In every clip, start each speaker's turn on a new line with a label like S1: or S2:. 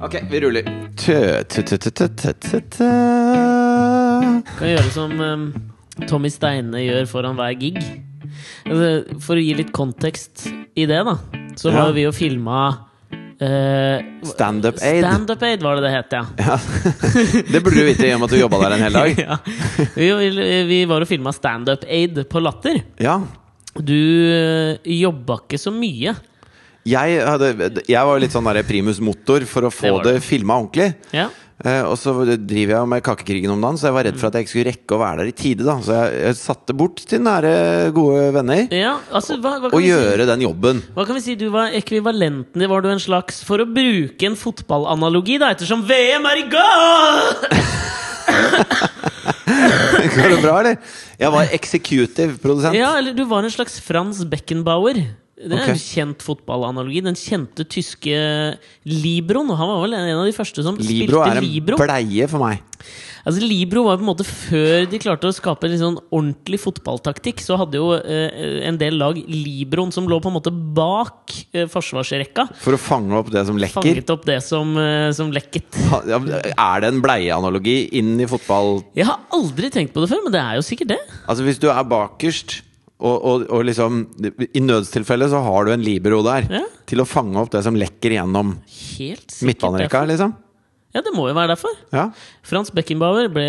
S1: Ok, vi ruller. Tø, tø, tø, tø, tø, tø, tø, tø.
S2: Kan gjøre som eh, Tommy Steine gjør foran hver gig. Altså, For å gi litt kontekst i det, da, så
S1: Ja.
S2: var jo vi jo filma eh,
S1: Stand-up aid.
S2: Standup Aid var det det het, ja.
S1: Ja. Det burde du vite i og med at du jobba der en hel dag.
S2: ja. Vi, vi var og filma Standup Aid på Latter.
S1: Ja.
S2: Du øh, jobba ikke så mye.
S1: Jeg, hadde, jeg var jo litt sånn der primus motor for å
S2: Det
S1: få
S2: var
S1: det, filma ordentlig.
S2: Ja.
S1: Eh, og så driver jeg jo med kakekrigen om dagen, så jeg var redd for at jeg ikke skulle rekke å være der i tide. Da. Så jeg, jeg satte bort til nære, gode venner
S2: ja altså, hva, hva,
S1: og
S2: kan vi si?
S1: gjøre den jobben.
S2: hva kan vi si? Du var ekvivalenten din. Var du en slags For å bruke en fotballanalogi, da, ettersom VM er i gang!
S1: Går det bra, eller? Jeg var executive produsent.
S2: Ja, eller du var en slags Frans Beckenbauer. Det
S1: Ok.
S2: er en kjent fotballanalogi. Den kjente tyske Libroen. og Han var vel en av de første som
S1: Libro
S2: spilte
S1: er en
S2: Libro.
S1: bleie for meg.
S2: Altså Libro var på en måte Før de klarte å skape en litt sånn ordentlig fotballtaktikk, så hadde jo eh, en del lag Libroen som lå på en måte bak eh, forsvarsrekka.
S1: For å fange opp det som lekker.
S2: Fanget opp det som, eh, som lekket.
S1: Ha- ja, Er det en bleieanalogi inn i fotball?
S2: Jeg har aldri tenkt på det før, men det er jo sikkert det.
S1: Altså Hvis du er bakerst, og, og, og liksom i nødstilfelle så har du en libero der
S2: Ja.
S1: til å fange opp det som lekker gjennom
S2: Helt sikkert
S1: midtbanerekka,
S2: derfor.
S1: liksom.
S2: Ja, det må jo være derfor.
S1: Ja,
S2: Frans Beckenbauer ble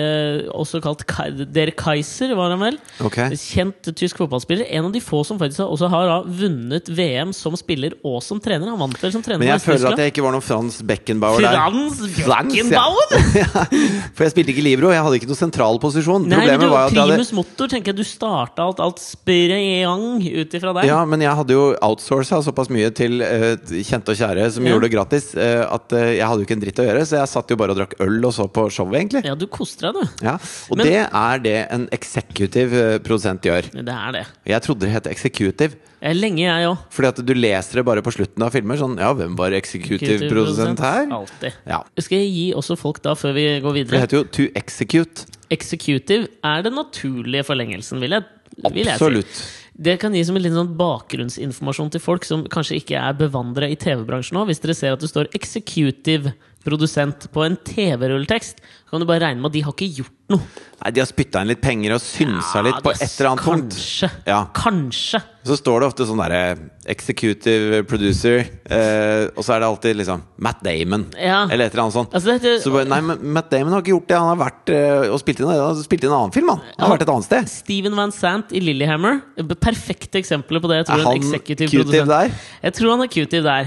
S2: også kalt Kai- Der Kaiser, var han vel?
S1: ok
S2: Kjent tysk fotballspiller. En av de få som faktisk også har da vunnet VM som spiller og som trener. Han vant vel som trener.
S1: Men jeg
S2: med
S1: føler
S2: Tyskland.
S1: at jeg ikke var noen Frans Beckenbauer der.
S2: Frans
S1: Frans, ja.
S2: Beckenbauer!
S1: For jeg spilte ikke libero, jeg hadde ikke noen sentral posisjon.
S2: Nei, men
S1: Problemet
S2: du,
S1: var at jeg hadde
S2: primus motor, tenker jeg. Du starta alt, alt sprang ut ifra deg.
S1: ja, men jeg hadde jo outsourca såpass mye til eh, kjente og kjære som
S2: Ja.
S1: gjorde det gratis, eh, at eh, jeg hadde jo ikke en dritt å gjøre, så jeg satt jo bare og drakk øl og så på showet, egentlig.
S2: Ja, du koste deg, du.
S1: Ja. Og
S2: Men-
S1: det er det en executive eh, produsent gjør.
S2: Det er det.
S1: Jeg trodde det het executive,
S2: Jeg er lenge, jeg òg.
S1: Fordi at du leser det bare på slutten av filmer. Sånn, ja, hvem var executive produsent her?
S2: Alltid.
S1: Ja.
S2: Skal jeg gi også folk, da, før vi går
S1: For det
S2: videre
S1: heter jo To Execute.
S2: Executive er den naturlige forlengelsen, vil jeg, vil jeg si.
S1: Absolutt.
S2: Det kan gi som en liten sånn bakgrunnsinformasjon til folk som kanskje ikke er bevandra i TV-bransjen nå. Hvis dere ser at det står 'executive produsent' på en TV-rulletekst, kan du bare regne med at de har ikke gjort noe.
S1: Nei, de har spytta inn litt penger og synsa litt på et eller annet punkt.
S2: kanskje,
S1: Ja.
S2: Kanskje.
S1: Så står det ofte sånn derre Executive producer, eh, og så er det alltid liksom Matt Damon.
S2: Ja.
S1: Eller et eller annet sånt.
S2: Altså, det heter-
S1: så bare, nei, men Matt Damon har ikke gjort det. Han har vært eh, og spilt inn, han har spilt inn en annen film, han. Han har vært et annet sted.
S2: Steven Van Sant i Lillehammer. Perfekte eksempler på det. Jeg tror
S1: Er
S2: en
S1: han
S2: executive
S1: cutive
S2: produsent-
S1: der?
S2: Jeg tror han er cutive der.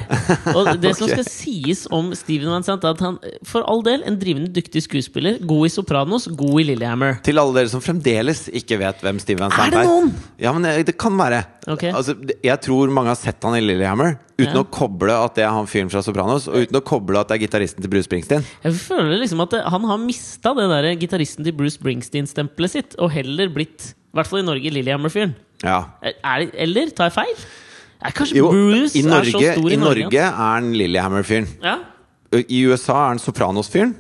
S2: Og det som
S1: Ok.
S2: skal sies om Steven Van Sant, er at han for all del en drivende dyktig skuespiller. God i Sopranos, god i Lillehammer.
S1: Til alle dere som fremdeles ikke vet hvem Steve Van Sant
S2: Er
S1: er.
S2: det noen?
S1: Ja, men det, det kan være.
S2: Ok.
S1: Altså, det- jeg tror mange har sett han i Lillehammer uten
S2: Ja.
S1: å koble at det er han fyren fra Sopranos, og uten å koble at det er gitaristen til Bruce Springsteen.
S2: Jeg føler liksom at eh, han har mista det der gitaristen til Bruce Springsteen-stempelet sitt, og heller blitt, i hvert fall i Norge, Lillehammer-fyren.
S1: Ja.
S2: Er- er- Eller tar jeg feil? Er kanskje
S1: Jo,
S2: Bruce
S1: i Norge,
S2: er så stor i, Norge? altså.
S1: Norge er han Lillehammer-fyren.
S2: Ja.
S1: I USA er han Sopranos-fyren.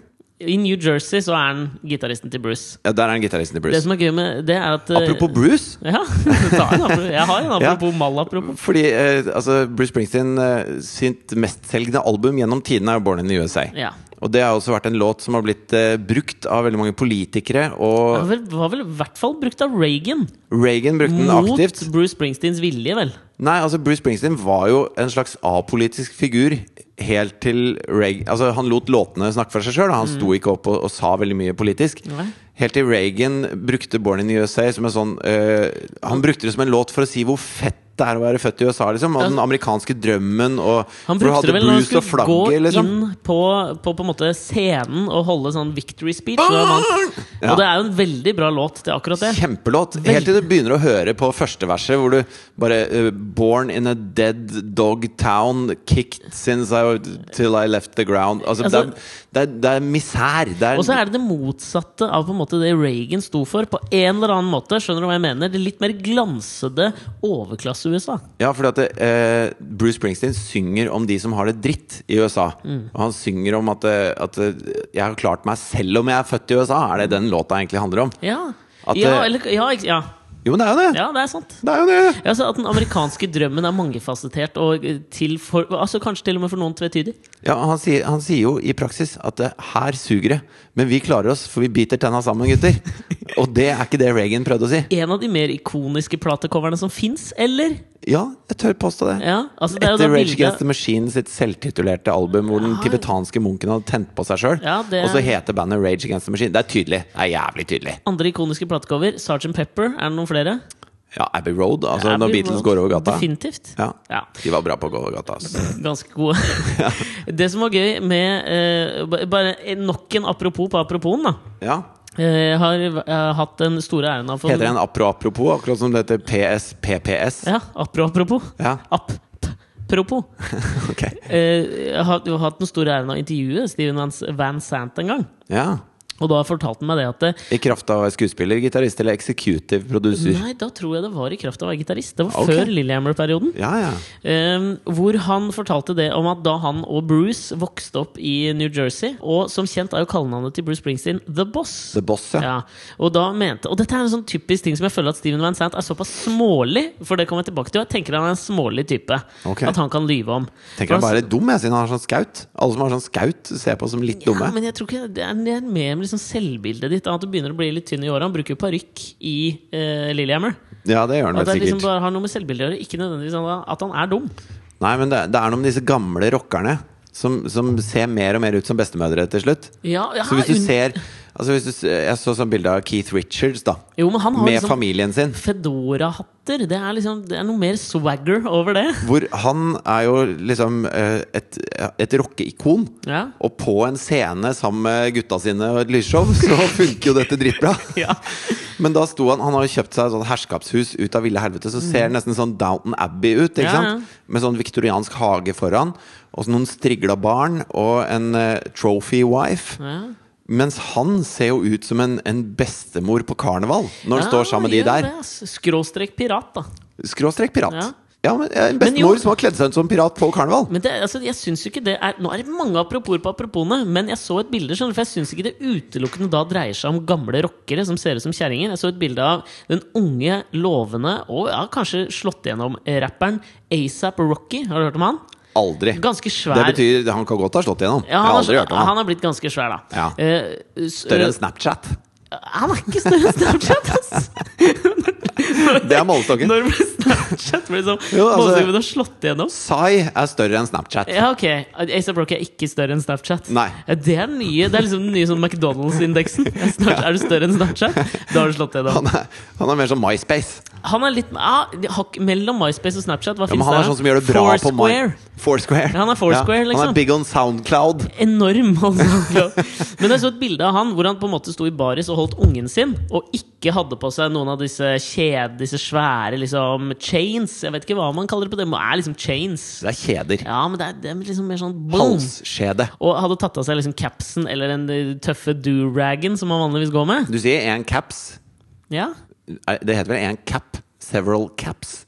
S2: I New Jersey så er han gitaristen til Bruce.
S1: Ja, der er han gitaristen til
S2: Det
S1: Bruce.
S2: som er gøy med det, er at eh,
S1: Apropos Bruce.
S2: Ja, ta en apropos. jeg har en
S1: Ja.
S2: apropos mal-apropos.
S1: Fordi eh, altså, Bruce Springsteen eh, sitt mestselgende album gjennom tidene er jo Born in the USA.
S2: Ja.
S1: Og det har også vært en låt som har blitt eh, brukt av veldig mange politikere.
S2: Det
S1: Og
S2: var vel- var vel i hvert fall brukt av Reagan.
S1: Reagan brukte den
S2: Mot
S1: aktivt.
S2: Bruce Springsteens vilje, vel.
S1: Nei, altså Bruce Springsteen var jo en slags apolitisk figur helt til Reagan Altså Han lot låtene snakke for seg sjøl, han sto ikke opp og, og sa veldig mye politisk.
S2: Mm. Nei.
S1: Helt til Reagan brukte 'Born in the USA' som en sånn øh, Han brukte det som en låt for å si hvor fett det er å være født i USA, liksom. Og den amerikanske drømmen og for
S2: Han
S1: du
S2: brukte
S1: hadde
S2: det vel når han
S1: blues og
S2: skulle gå
S1: flagget, liksom.
S2: inn på, på, på en måte scenen og holde sånn victory speech. Og, han,
S1: Ah! Ja.
S2: og det er jo en veldig bra låt til akkurat det.
S1: Kjempelåt. Helt til du begynner å høre på første verset, hvor du bare eh, Born in a dead dog town, kicked since I till I left the ground. Altså, det,
S2: Altså-
S1: er, det, er, det er misær. Det er,
S2: Og så er det det motsatte av på en måte det Reagan sto for. På en eller annen måte, skjønner du hva jeg mener? Det litt mer glansede overklasse-USA.
S1: Ja, fordi at det, eh, Bruce Springsteen synger om de som har det dritt i USA.
S2: Mm.
S1: Og han synger om at, eh, at eh, 'jeg har klart meg selv om jeg er født i USA'. Er det den låta egentlig handler om?
S2: Ja.
S1: At
S2: ja,
S1: det-
S2: eller, ja, ikke- ja.
S1: Jo, men det er jo det!
S2: Ja, det er sant.
S1: Det er jo det!
S2: Ja, så At den amerikanske drømmen er mangefasettert og eh, til for, altså kanskje til og med for noen tvetydig.
S1: Ja, han sier, han sier jo i praksis at det her suger det, men vi klarer oss, for vi biter tenna sammen, gutter. Og det er ikke det Reagan prøvde å si.
S2: En av de mer ikoniske platecoverne som fins, eller?
S1: Ja, jeg tør påstå det.
S2: Ja, altså det er jo
S1: Etter
S2: da
S1: Rage
S2: bildet-
S1: Against the Machine sitt selvtitulerte album, hvor den tibetanske munken hadde tent på seg sjøl,
S2: Ja, det-
S1: og så heter bandet Rage Against the Machine. Det er tydelig. Det er jævlig tydelig.
S2: Andre ikoniske platecover. Sergeant Pepper. Er det noen flere?
S1: Ja, Abbey Road, altså
S2: Abbey
S1: når Beatles
S2: Road.
S1: går over gata.
S2: Definitivt.
S1: Ja,
S2: Ja.
S1: De var bra på å gå over gata. Altså.
S2: Ganske gode. Det som var gøy med eh, ba- Bare nok en apropos på aproposen, da.
S1: Ja.
S2: Eh, Jeg har eh, hatt den store æren av å få
S1: Heter den Apro Apropos, akkurat som det heter PSPPS?
S2: Ja, apro apropos.
S1: Ja,
S2: App-propos.
S1: ok.
S2: Eh, Jeg har jeg har hatt den store æren av å intervjue Steven Van, Van Sant en gang.
S1: Ja.
S2: Og da fortalte han meg det at eh,
S1: I kraft av å være skuespiller, gitarist eller executive producer?
S2: Nei, da tror jeg det var i kraft av å være gitarist. Det var
S1: Ok.
S2: før Lillehammer-perioden.
S1: Ja, ja.
S2: Ehm, hvor han fortalte det om at da han og Bruce vokste opp i New Jersey Og som kjent er jo kallenavnet til Bruce Springsteen The Boss.
S1: The Boss, ja.
S2: Ja, og, da mente, og dette er en sånn typisk ting som jeg føler at Steven Van Sant er såpass smålig. For det kommer jeg tilbake til og Jeg tenker han er en smålig type.
S1: Ok.
S2: At han kan lyve om.
S1: Tenker han
S2: For
S1: bare er dum, jeg, siden han har sånn skaut. Alle som har sånn skaut, ser jeg på som litt dumme.
S2: ja, men jeg tror ikke Det er det er mer med liksom selvbildet ditt. At du begynner å bli litt tynn i håret. Han bruker jo parykk i eh, Lillehammer.
S1: Ja, det gjør han
S2: At det
S1: vel
S2: er liksom
S1: sikkert.
S2: bare har noe med selvbildet å gjøre. Ikke nødvendigvis at han er dum.
S1: Nei, men det, det er noe med disse gamle rockerne som, som ser mer og mer ut som bestemødre til slutt.
S2: Ja, ja,
S1: Så hvis du
S2: un-
S1: ser altså hvis du, s- Jeg så sånn bilde av Keith Richards, da.
S2: Jo, men han har
S1: Med
S2: liksom-
S1: familien sin.
S2: Fedora-hatter. Det er liksom Det er noe mer swagger over det.
S1: Hvor han er jo liksom eh, et, et rockeikon.
S2: Ja.
S1: Og på en scene sammen med gutta sine og et lysshow, så funker jo dette dritbra.
S2: Ja.
S1: Men da sto han Han har jo kjøpt seg et sånt herskapshus ut av ville helvete, så ser det nesten sånn Downton Abbey ut. Ikke
S2: Mhm. Ja, ja.
S1: sant? Med sånn viktoriansk hage foran, og så noen strigla barn og en eh, trophy wife.
S2: Ja.
S1: Mens han ser jo ut som en, en bestemor på karneval, når han
S2: Ja,
S1: står sammen med de
S2: gjør
S1: der.
S2: det, ass. Skråstrek pirat, da.
S1: Skråstrek pirat.
S2: Ja.
S1: Ja. men eh, En
S2: Men jo-
S1: bestemor som har kledd seg ut som pirat på karneval.
S2: Men det, altså, jeg syns jo ikke det er Nå er det mange apropos på apropone, men jeg så et bilde, skjønner du, for jeg syns ikke det utelukkende da dreier seg om gamle rockere som ser ut som kjerringer. Jeg så et bilde av den unge, lovende og ja, kanskje slått gjennom rapperen ASAP Rocky. Har du hørt om han?
S1: Aldri.
S2: Ganske svær.
S1: Det betyr han kan godt ha slått igjennom.
S2: ja,
S1: jeg har
S2: han,
S1: aldri
S2: er,
S1: hørt om
S2: han
S1: han.
S2: har blitt ganske svær, da.
S1: Ja.
S2: Eh, s-
S1: Større enn Snapchat.
S2: eh, Han er ikke større enn Snapchat, ass!
S1: Det er målestokken.
S2: Når ble Snapchat ble liksom,
S1: Jo, altså-
S2: målskiven har slått igjennom?
S1: Psy er større enn Snapchat.
S2: Ja, ok. A$AP Rocky er ikke større enn Snapchat.
S1: Nei.
S2: Ja, Det er, den nye, det er liksom den nye sånn McDonald's-indeksen. Ja, Snap- Er du større enn Snapchat? Da har du slått igjennom.
S1: Han er, han er mer som MySpace.
S2: Han er litt ah, hakk mellom MySpace og Snapchat. Hva
S1: Ja, men
S2: finnes
S1: han er
S2: der?
S1: sånn som gjør det bra på My...
S2: Foursquare.
S1: Foursquare.
S2: Ja, han er Foursquare,
S1: Han
S2: liksom.
S1: er big on Soundcloud.
S2: Enorm, altså. Men jeg så et bilde av han hvor han på en måte sto i baris og holdt ungen sin, og ikke hadde på seg noen av disse kjede, disse svære liksom chains. Jeg vet ikke hva man kaller det på det, men det er liksom chains.
S1: Det er kjeder.
S2: Ja, men det er, det er liksom mer sånn boom.
S1: Halsskjede.
S2: Og hadde tatt av seg liksom capsen eller den eh, tøffe do-ragen som man vanligvis går med.
S1: Du sier én caps.
S2: Ja,
S1: Er- Det heter vel én cap? Several caps.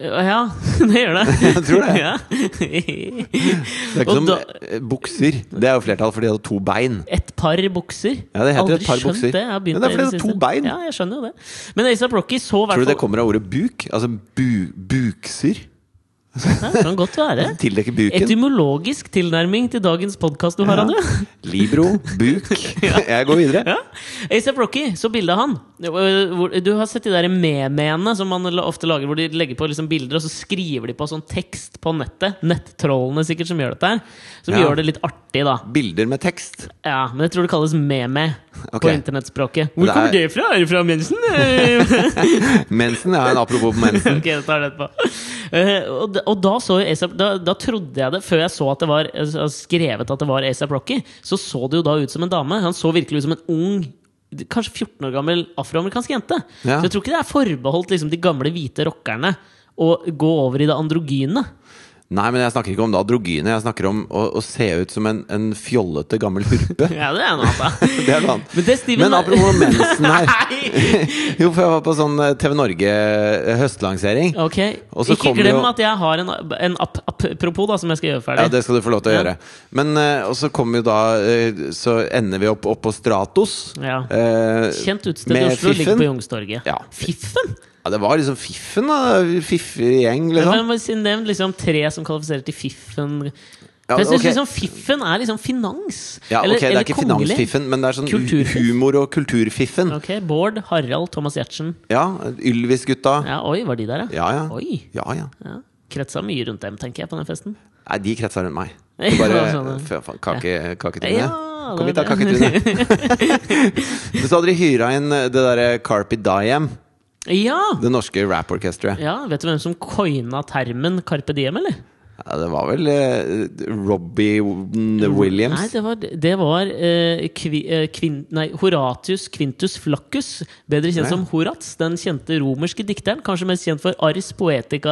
S2: Eh, ja det gjør det.
S1: Jeg tror det.
S2: Ja.
S1: Det er ikke
S2: Og
S1: som
S2: da-
S1: eh, bukser. Det er jo flertall fordi de hadde to bein.
S2: Et par bukser.
S1: Ja, det heter
S2: Aldri
S1: et par
S2: skjønt
S1: bukser.
S2: Det. Jeg har begynt
S1: Men det er fordi
S2: det i
S1: det er to
S2: siste.
S1: bein.
S2: Ja, jeg skjønner jo det. Men A$AP Rocky så
S1: Tror du
S2: hvertfall
S1: det kommer av ordet buk? Altså bu, bukser?
S2: Ja, det kan godt være.
S1: Tildekke buken?
S2: Etymologisk tilnærming til dagens podkast du har, Adde.
S1: Libro, buk. Jeg går videre.
S2: Ja. A$AP Rocky, så bildet av han. Hvor- hvor- Du har sett de der memeene som man la- ofte lager, hvor de legger på liksom bilder, og så skriver de på sånn tekst på nettet. Nettrollene sikkert som gjør dette her. Som
S1: Ja.
S2: gjør det litt artig, da.
S1: Bilder med tekst.
S2: Ja, Men jeg tror det kalles meme på
S1: Ok.
S2: internettspråket.
S1: Men
S2: Hvor
S1: det
S2: kommer
S1: er-
S2: det fra? Er det fra mensen? Eh,
S1: Mensen er en apropos på mensen.
S2: ok, det tar det etterpå. Eh, og, da- og da, så jo A$AP da, da trodde jeg det, før jeg så at det var altså, skrevet at det var A$AP Rocky, så så det jo da ut som en dame. Han så virkelig ut som en ung Kanskje 14 år gammel afroamerikansk jente.
S1: Ja.
S2: Så jeg tror ikke det er forbeholdt liksom, de gamle hvite rockerne å gå over i det androgyne.
S1: Nei, men jeg snakker ikke om det androgyne. Jeg snakker om å, å se ut som en, en fjollete gammel hurpe.
S2: Ja, det er noe annet.
S1: Det er noe annet.
S2: Men det Steven
S1: Men apropos mensen her.
S2: Nei!
S1: Jo, for jeg var på sånn eh, TV Norge eh, høstlansering.
S2: Ok,
S1: Og så
S2: Ikke
S1: kommer
S2: glem
S1: jo-
S2: at jeg har en, en app, app, apropos da, som jeg skal gjøre ferdig.
S1: Ja, det skal du få lov til å
S2: Ja.
S1: gjøre. Men eh, og så kommer jo da eh, Så ender vi opp, opp på Stratos.
S2: Ja.
S1: eh,
S2: Kjent utested i
S1: med
S2: Oslo ligger
S1: Fiffen.
S2: på Youngstorget.
S1: Ja.
S2: Fiffen?
S1: Ja, det var liksom fiffen, da. Fiffig gjeng, liksom.
S2: Men hvis jeg nevnt liksom tre som kvalifiserer til Fiffen
S1: Ja,
S2: For Jeg synes
S1: ok.
S2: liksom Fiffen er liksom finans.
S1: Ja, ok, Det er ikke
S2: kongelig.
S1: finansfiffen, men det er sånn
S2: Kulturfiff.
S1: humor- og kulturfiffen.
S2: Ok, Bård, Harald, Thomas Giertsen.
S1: Ja, Ylvis-gutta.
S2: Ja, oi, var de der,
S1: Ja ja.
S2: Oi.
S1: ja, ja.
S2: ja. Kretsa mye rundt dem, tenker jeg, på den festen.
S1: Nei, de kretsa rundt meg.
S2: Ja,
S1: Bare
S2: sånn, ja.
S1: fy faen, kake, Kaketryne.
S2: Ja,
S1: Kom hit,
S2: det
S1: da,
S2: var det.
S1: kaketryne. Men så hadde de hyra inn eh, det derre Carpi Diem,
S2: Ja!
S1: det norske rapporkesteret.
S2: ja! Vet du hvem som coina termen Carpe Diem, eller?
S1: Ja, det var vel eh, Robbie Williams.
S2: Nei, det var, det var eh, kvi, eh, kvin, nei, Horatius Quintus Flaccus, bedre kjent
S1: Ja.
S2: som Horats. Den kjente romerske dikteren, kanskje mest kjent for Ars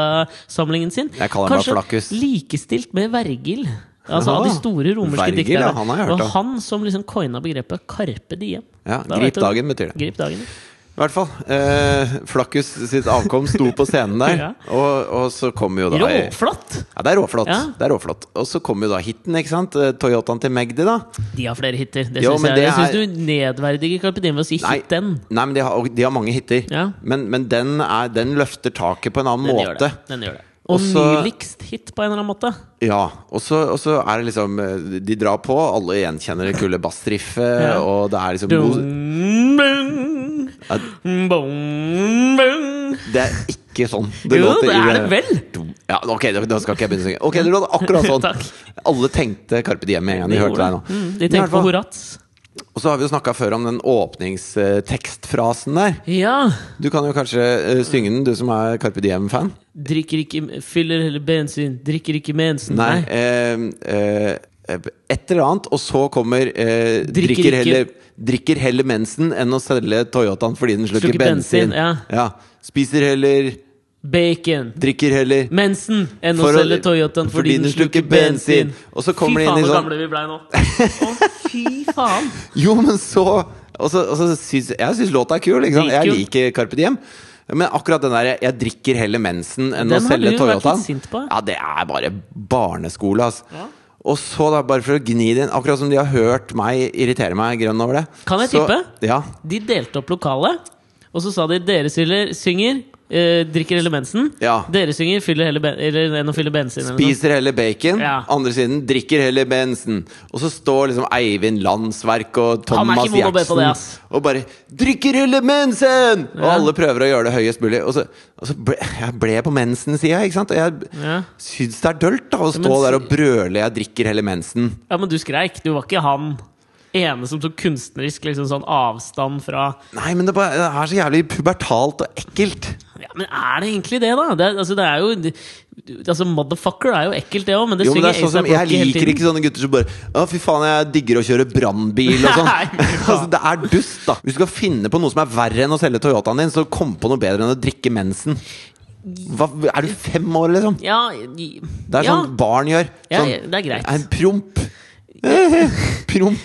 S2: Poetica-samlingen sin.
S1: Jeg kaller han bare
S2: Kanskje
S1: Flaccus.
S2: likestilt med Vergil. Altså
S1: Jaha.
S2: av de store romerske
S1: Vergil,
S2: dikterne.
S1: ja, han har jeg hørt
S2: og
S1: om.
S2: han som liksom coina begrepet carpe diem.
S1: Ja,
S2: Da
S1: grip
S2: vet du-
S1: dagen, betyr det.
S2: Grip dagen.
S1: I hvert fall. Eh, Flakkus sitt avkom sto på scenen der,
S2: Ja.
S1: og, og så kom jo da
S2: Råflott!
S1: Ja, det er råflott.
S2: Ja.
S1: Det er råflott. Og så kom jo da hiten, ikke sant? Eh, Toyotaen til Magdi, da.
S2: De har flere hiter. Det
S1: Jo,
S2: syns
S1: men
S2: jeg,
S1: det
S2: jeg synes
S1: er-
S2: du nedverdiger Carpe Diem ved å si
S1: Nei.
S2: 'hit den'.
S1: Nei, men de har, og de har mange hiter.
S2: Ja.
S1: Men, men den, er, den løfter taket på en annen
S2: Den gjør
S1: måte.
S2: det. Den gjør det. Og
S1: Også-
S2: nyligst hit, på en eller annen måte.
S1: Ja. Og så, og så er det liksom eh, De drar på, alle gjenkjenner det kule bassriffet,
S2: Ja.
S1: og det er liksom god-
S2: Dum, bung,
S1: Ja,
S2: bung, bung.
S1: Det er ikke sånn det
S2: Jo,
S1: låter i
S2: det er det vel!
S1: Dum- Ja, ok, da, da skal ikke jeg begynne å synge. Ok, det låt akkurat sånn.
S2: Takk.
S1: Alle tenkte Carpe Diem med en gang de hørte deg nå.
S2: Mm,
S1: Men i
S2: de
S1: hvert
S2: tenker på
S1: fall-
S2: Horats.
S1: Og så har vi jo snakka før om den åpningstekstfrasen der.
S2: Ja.
S1: Du kan jo kanskje eh, synge den, du som er Carpe Diem-fan.
S2: Drikker ikke Fyller heller bensin. Drikker ikke mensen.
S1: Nei. eh, eh, et eller annet, og så kommer eh, drikker,
S2: Drikker ikke-
S1: heller, drikker heller mensen enn å selge Toyotaen fordi den slukker,
S2: Slukker bensin,
S1: bensin.
S2: ja.
S1: Spiser heller,
S2: Bacon.
S1: drikker heller
S2: Mensen enn å
S1: For å-
S2: selge Toyotaen fordi den slukker bensin.
S1: Og så kommer det inn i
S2: Fy faen, så
S1: sånn-
S2: gamle vi blei nå. Å, fy faen!
S1: Jo, men så Og så, og så syns jeg syns låta er kul. Ikke sant? Jeg
S2: Dritkul.
S1: liker Carpe Diem. Men akkurat den der 'jeg drikker heller mensen enn
S2: Den
S1: å
S2: har
S1: selge
S2: du vært litt
S1: Toyotaen',
S2: sint på.
S1: ja, det er bare barneskole, altså.
S2: Ja.
S1: Og så, da, bare for å gni det inn, akkurat som de har hørt meg irritere meg grønn over det
S2: Kan jeg
S1: så,
S2: tippe?
S1: Ja.
S2: De delte opp lokalet, og så sa de dere synger, synger eh, drikker hele mensen.
S1: Ja.
S2: Dere synger fyller hele ben, eller, enn å fylle bensin. eller noe sånt.
S1: Spiser heller bacon.
S2: Ja.
S1: Andre siden drikker heller bensin. Og så står liksom Eivind Landsverk og
S2: Han er ikke
S1: Thomas
S2: mono B på det,
S1: Gjertsen
S2: ass.
S1: og bare 'Drikker heller mensen!' Og
S2: Ja.
S1: alle prøver å gjøre det høyest mulig. Og så, og så ble jeg ble på mensen-sida, ikke sant? Og jeg
S2: Ja.
S1: syns det er dølt da å stå
S2: men-
S1: der og brøle 'jeg drikker heller mensen'.
S2: ja, men du skreik. Du var ikke han ene som tok kunstnerisk liksom, sånn avstand fra
S1: Nei, men det, bare, det er så jævlig pubertalt og ekkelt.
S2: Ja, Men er det egentlig det, da? Det, er- altså, det er jo Altså, motherfucker er jo ekkelt, det òg, men det
S1: Jo, men
S2: synger
S1: det er sånn som,
S2: A$AP
S1: Jeg
S2: Rocky hele
S1: liker
S2: tiden.
S1: ikke sånne gutter som bare 'Å, fy faen, jeg digger å kjøre brannbil' og sånn.
S2: Nei, fy faen.
S1: altså, det er dust, da. Hvis du skal finne på noe som er verre enn å selge Toyotaen din, så kom på noe bedre enn å drikke mensen. Hva, er du fem år, liksom?
S2: Ja,
S1: Det er
S2: ja.
S1: sånn barn gjør.
S2: Ja,
S1: Sånn,
S2: det er greit.
S1: En promp. promp.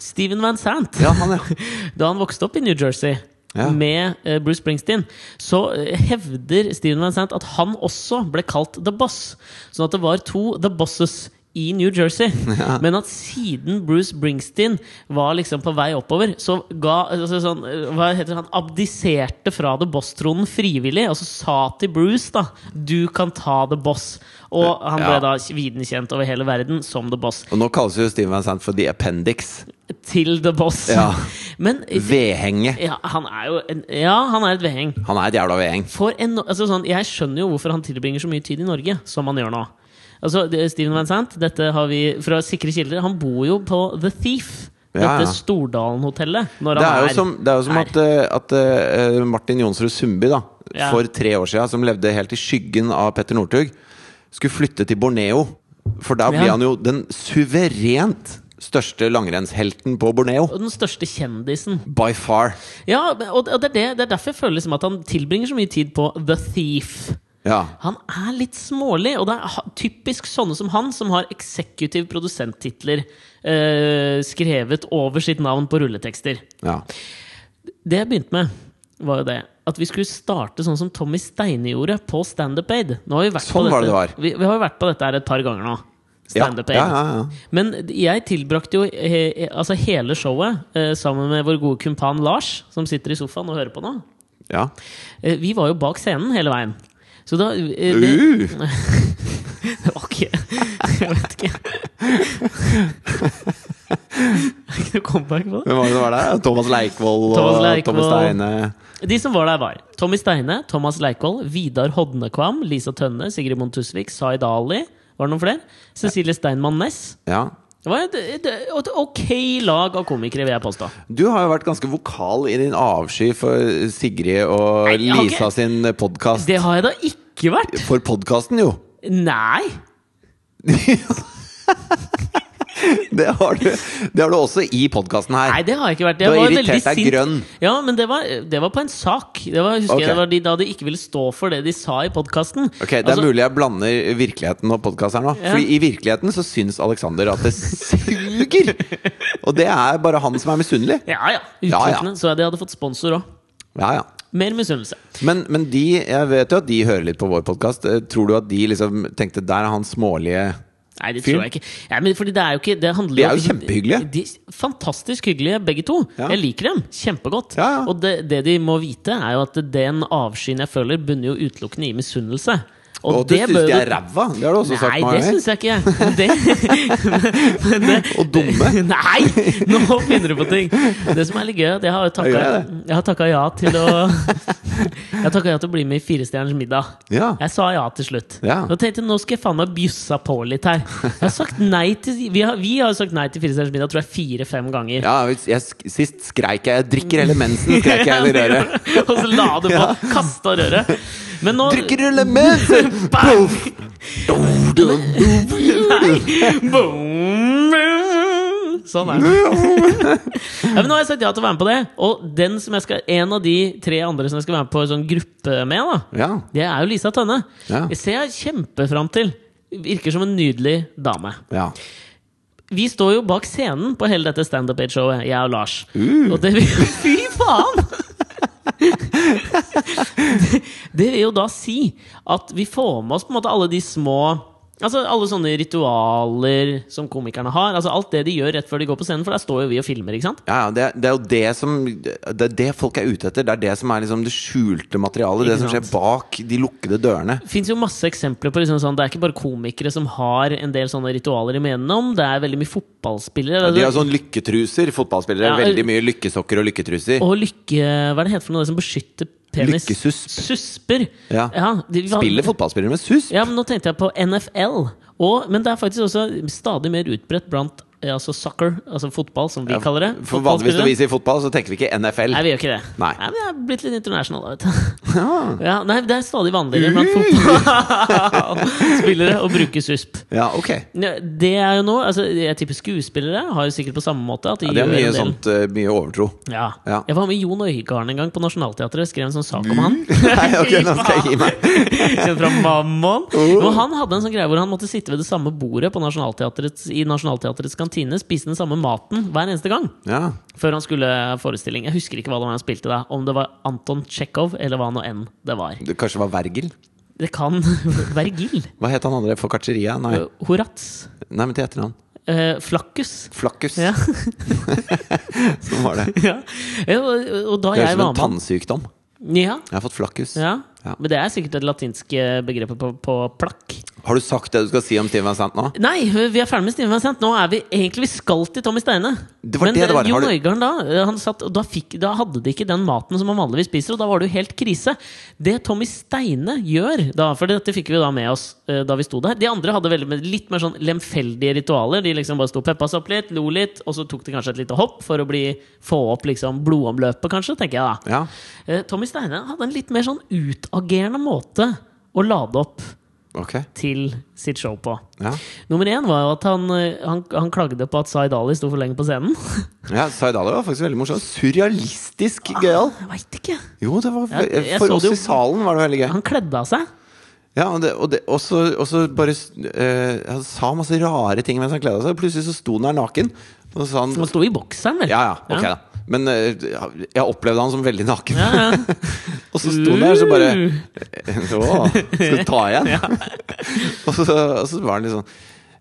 S2: Steven Van Sant.
S1: Ja, han, ja.
S2: Da han vokste opp i New Jersey
S1: Ja.
S2: med eh, Bruce Springsteen, så eh, hevder Steven Van Sant at han også ble kalt The Boss. Sånn at det var to The Bosses i New Jersey. Men at siden Bruce Springsteen var liksom på vei oppover, så ga altså sånn, eh, Hva heter det? Han abdiserte fra The Boss-tronen frivillig, og så sa til Bruce, da, 'Du kan ta The Boss'. Og han ble
S1: Ja.
S2: da viden kjent over hele verden som The Boss.
S1: Og nå kalles jo Steven Van Sant for The Appendix.
S2: Til The Boss.
S1: Ja.
S2: Men eh,
S1: Vedhenget.
S2: ja, han er jo en, Ja, han er et veheng.
S1: Han er et jævla vedheng.
S2: For en, altså sånn, jeg skjønner jo hvorfor han tilbringer så mye tid i Norge, som han gjør nå. Altså, det- Steven Van Sant, dette har vi fra sikre kilder, han bor jo på The Thief. Dette
S1: Ja, ja.
S2: Stordalen-hotellet. Når
S1: Det
S2: han
S1: er jo som, det er jo som
S2: her.
S1: at, eh, at eh, Martin Jonsrud Sundby, da,
S2: Ja.
S1: for tre år siden, som levde helt i skyggen av Petter Northug, skulle flytte til Borneo. For da blir
S2: Ja.
S1: han jo den suverent største langrennshelten på Borneo.
S2: Og den største kjendisen.
S1: By far.
S2: Ja, men- og og det er, det, det er derfor jeg føler liksom at han tilbringer så mye tid på The Thief.
S1: Ja.
S2: Han er litt smålig, og det er ha- typisk sånne som han, som har eksekutiv produsenttitler eh, skrevet over sitt navn på rulletekster.
S1: ja.
S2: Det jeg begynte med, var jo det at vi skulle starte sånn som Tommy Steine gjorde på Standup Aid. Nå har vi vært
S1: Sånn
S2: på
S1: var det
S2: dette.
S1: det
S2: Vi, vi har jo vært på dette her et par ganger nå.
S1: Ja,
S2: Standup Aid.
S1: ja, ja, ja.
S2: Men jeg tilbrakte jo he, altså hele showet eh, sammen med vår gode kumpan Lars, som sitter i sofaen og hører på nå.
S1: Ja.
S2: Eh, Vi var jo bak scenen hele veien. Så da eh, det,
S1: Uh,
S2: det var ikke Jeg vet ikke. Det er ikke noe comeback på det.
S1: hvem var det som var der? Thomas Leikvoll og
S2: Thomas Leikvoll.
S1: Thomas Steine.
S2: De som var der, var Tommy Steine, Thomas Leikvoll, Vidar Hodnekvam, Lisa Tønne, Sigrid Mond Tusvik, Zaid Ali Var det noen flere? Cecilie Steinmann Næss.
S1: Ja.
S2: Det var et, et, et ok lag av komikere, vil jeg påstå.
S1: Du har jo vært ganske vokal i din avsky for Sigrid og
S2: Nei, jeg har
S1: Lisa
S2: ikke-
S1: sin podkast.
S2: Det har jeg da ikke vært!
S1: For podkasten, jo!
S2: Nei!
S1: Det har du, det har du også i podkasten her.
S2: Nei, det har jeg ikke vært.
S1: Du
S2: Jeg
S1: har
S2: var
S1: irritert
S2: veldig
S1: deg
S2: sint.
S1: grønn.
S2: Ja, men det var, det var på en sak. Det var, husker
S1: Ok.
S2: jeg, det var de, da de ikke ville stå for det de sa i Altså, podkasten.
S1: Ok, Det er mulig jeg blander virkeligheten og podkast her nå. Fordi i virkeligheten så syns Alexander at det suger! Og det er bare han som er misunnelig.
S2: Ja, ja.
S1: Ja, ja.
S2: Utelukkende. Så jeg de hadde fått sponsor òg.
S1: Ja, ja.
S2: Mer misunnelse.
S1: Men, men de, jeg vet jo at de hører litt på vår podkast. Tror du at de liksom tenkte der er han smålige
S2: Nei, det
S1: Fyren?
S2: tror jeg ikke. Ja, men fordi det er jo ikke det handler
S1: De er
S2: om-
S1: jo kjempehyggelige.
S2: De, fantastisk hyggelige, begge to.
S1: Ja.
S2: Jeg liker dem kjempegodt.
S1: Ja, ja.
S2: Og det, det de må vite, er jo at den avskyen jeg føler, bunner jo utelukkende i misunnelse.
S1: Og, du
S2: det
S1: syns
S2: bør
S1: de
S2: jo
S1: er
S2: du-
S1: ræva! Det har du også sagt
S2: Nei,
S1: mange
S2: det
S1: ganger.
S2: syns jeg ikke. Men det, men det,
S1: Og dumme.
S2: Nei! Nå finner du på ting. Det som er litt gøy, er at jeg har jo takka,
S1: Gjør jeg
S2: jeg har takka ja til å Jeg har takka ja til å bli med i Firestjerners middag.
S1: Ja.
S2: Jeg sa ja til slutt.
S1: Ja.
S2: Nå tenkte jeg, nå skal jeg faen meg bjussa på litt her. Jeg har sagt nei til Vi har, vi har jo sagt nei til Firestjerners middag tror jeg fire-fem ganger.
S1: ja jeg, sk- sist skreik jeg 'jeg drikker hele mensen', skreik jeg i røret.
S2: og så la du på.
S1: Ja.
S2: Kasta røret. Men nå
S1: Drikker hele mensen!
S2: Bang!
S1: Dum, dum, dum.
S2: Nei! Boom! Sånn er det. Ja, men nå har jeg sagt ja til å være med på det. Og den som jeg skal, en av de tre andre som jeg skal være med på en sånn gruppe med, da,
S1: Ja.
S2: det er jo Lisa Tønne.
S1: Ja.
S2: Det ser jeg kjempefram til. Virker som en nydelig dame.
S1: ja.
S2: Vi står jo bak scenen på hele dette standup-showet, jeg og Lars.
S1: Mm.
S2: Og det vil Fy faen! Det vil jo da si at vi får med oss på en måte alle de små Altså Alle sånne ritualer som komikerne har. Altså Alt det de gjør rett før de går på scenen, for der står jo vi og filmer. ikke sant?
S1: Ja, ja, det, det er jo det som Det er det folk er ute etter. Det er det som er liksom det skjulte materialet. Det
S2: Ikke
S1: som skjer
S2: sant?
S1: bak de lukkede dørene.
S2: Fins jo masse eksempler på liksom sånn Det er ikke bare komikere som har en del sånne ritualer de mener om. Det er veldig mye fotballspillere.
S1: De har sånn lykketruser, fotballspillere.
S2: Ja,
S1: veldig mye lykkesokker og lykketruser.
S2: Og lykke... Hva er det heter for noe det som beskytter penis?
S1: Lykkesusp.
S2: Susper.
S1: Ja.
S2: de-
S1: Spiller fotballspillere med sus?
S2: Ja, men nå tenkte jeg på NFL. Og, men det er faktisk også stadig mer utbredt blant eh, altså soccer, altså fotball, som vi kaller det.
S1: For vanligvis når
S2: Fotballspillere.
S1: vi sier fotball, så tenker vi ikke NFL.
S2: Nei, vi gjør ikke det.
S1: Nei.
S2: men jeg er blitt litt international, da, vet du.
S1: Ja.
S2: Ja, nei, det er stadig vanligere blant fotballspillere å bruke susp.
S1: ja, ok.
S2: Ja, Det er jo noe, altså Jeg tipper skuespillere har jo sikkert på samme måte. At de
S1: Ja, det er
S2: gjør en
S1: mye
S2: del-
S1: sånt, eh, mye overtro.
S2: Ja.
S1: Ja. Mm.
S2: Jeg var med Jon Øigarden en gang på Nationaltheatret. Skrev en sånn sak om han.
S1: Nei, ok, nå skal jeg gi meg. Oh.
S2: Kjent fra Mammon. Men han hadde en sånn greie hvor han måtte sitte ved det samme bordet på Nationaltheatrets, i Nationaltheatrets kantine, spise den samme maten hver eneste gang.
S1: Ja.
S2: Før han skulle ha forestilling. Jeg husker ikke hva det var han spilte da. Om det var Anton Tsjekhov, eller hva nå enn det var.
S1: Det kanskje var Vergil?
S2: Det kan være Gill.
S1: Hva het han andre? Foccacceria? Nei,
S2: Horats.
S1: Nei men til etternavn.
S2: Eh, Flakkus.
S1: Flakkus.
S2: Ja.
S1: Sånn var det.
S2: ja. Ja, og- Og da
S1: Det høres
S2: jeg
S1: ut som
S2: var
S1: en
S2: med
S1: tannsykdom.
S2: ja,
S1: Jeg har fått flakkus.
S2: ja.
S1: Ja.
S2: Men det er sikkert det latinske begrepet på, på plakk.
S1: Har du sagt det du skal si om Steven Vincent nå?
S2: Nei, vi er ferdig med Steven Vincent. Nå er vi egentlig vi skal til Tommy Steine.
S1: Det var
S2: Men
S1: det det var.
S2: eh, Jon
S1: Har du-
S2: Øigarden da, eh, han satt, og da, fikk, da hadde de ikke den maten som han vanligvis spiser, og da var det jo helt krise. Det Tommy Steine gjør da, for dette fikk vi jo da med oss eh, da vi sto der De andre hadde veldig, med- litt mer sånn lemfeldige ritualer. De liksom bare sto og peppa seg opp litt, lo litt, og så tok de kanskje et lite hopp for å bli, få opp liksom blodomløpet, kanskje, tenker jeg da.
S1: Ja.
S2: Eh, Tommy Steine hadde en litt mer sånn utagerende måte å lade opp
S1: Ok.
S2: til sitt show på.
S1: Ja.
S2: Nummer én var jo at han, eh, han, han klagde på at Zaid Ali sto for lenge på scenen.
S1: ja Zaid Ali var faktisk veldig morsom. Surrealistisk gøyal.
S2: Jeg vet ikke.
S1: Ah. Jo, det var
S2: Ja, jeg
S1: for
S2: så
S1: oss
S2: det jo.
S1: i salen var det veldig gøy.
S2: Han kledde av seg.
S1: Ja, og det, og det, også, også bare eh, Han sa masse rare ting mens han kledde seg. Plutselig så sto han der naken. Og så sa han
S2: Han sto i bokseren, vel.
S1: Ja, ja, ok,
S2: Ja.
S1: da. Men eh, ja, jeg opplevde han som veldig naken.
S2: Ja, ja.
S1: Og så sto han der, så bare
S2: Uh.
S1: Å, skal du ta igjen? og, så, og så var han litt sånn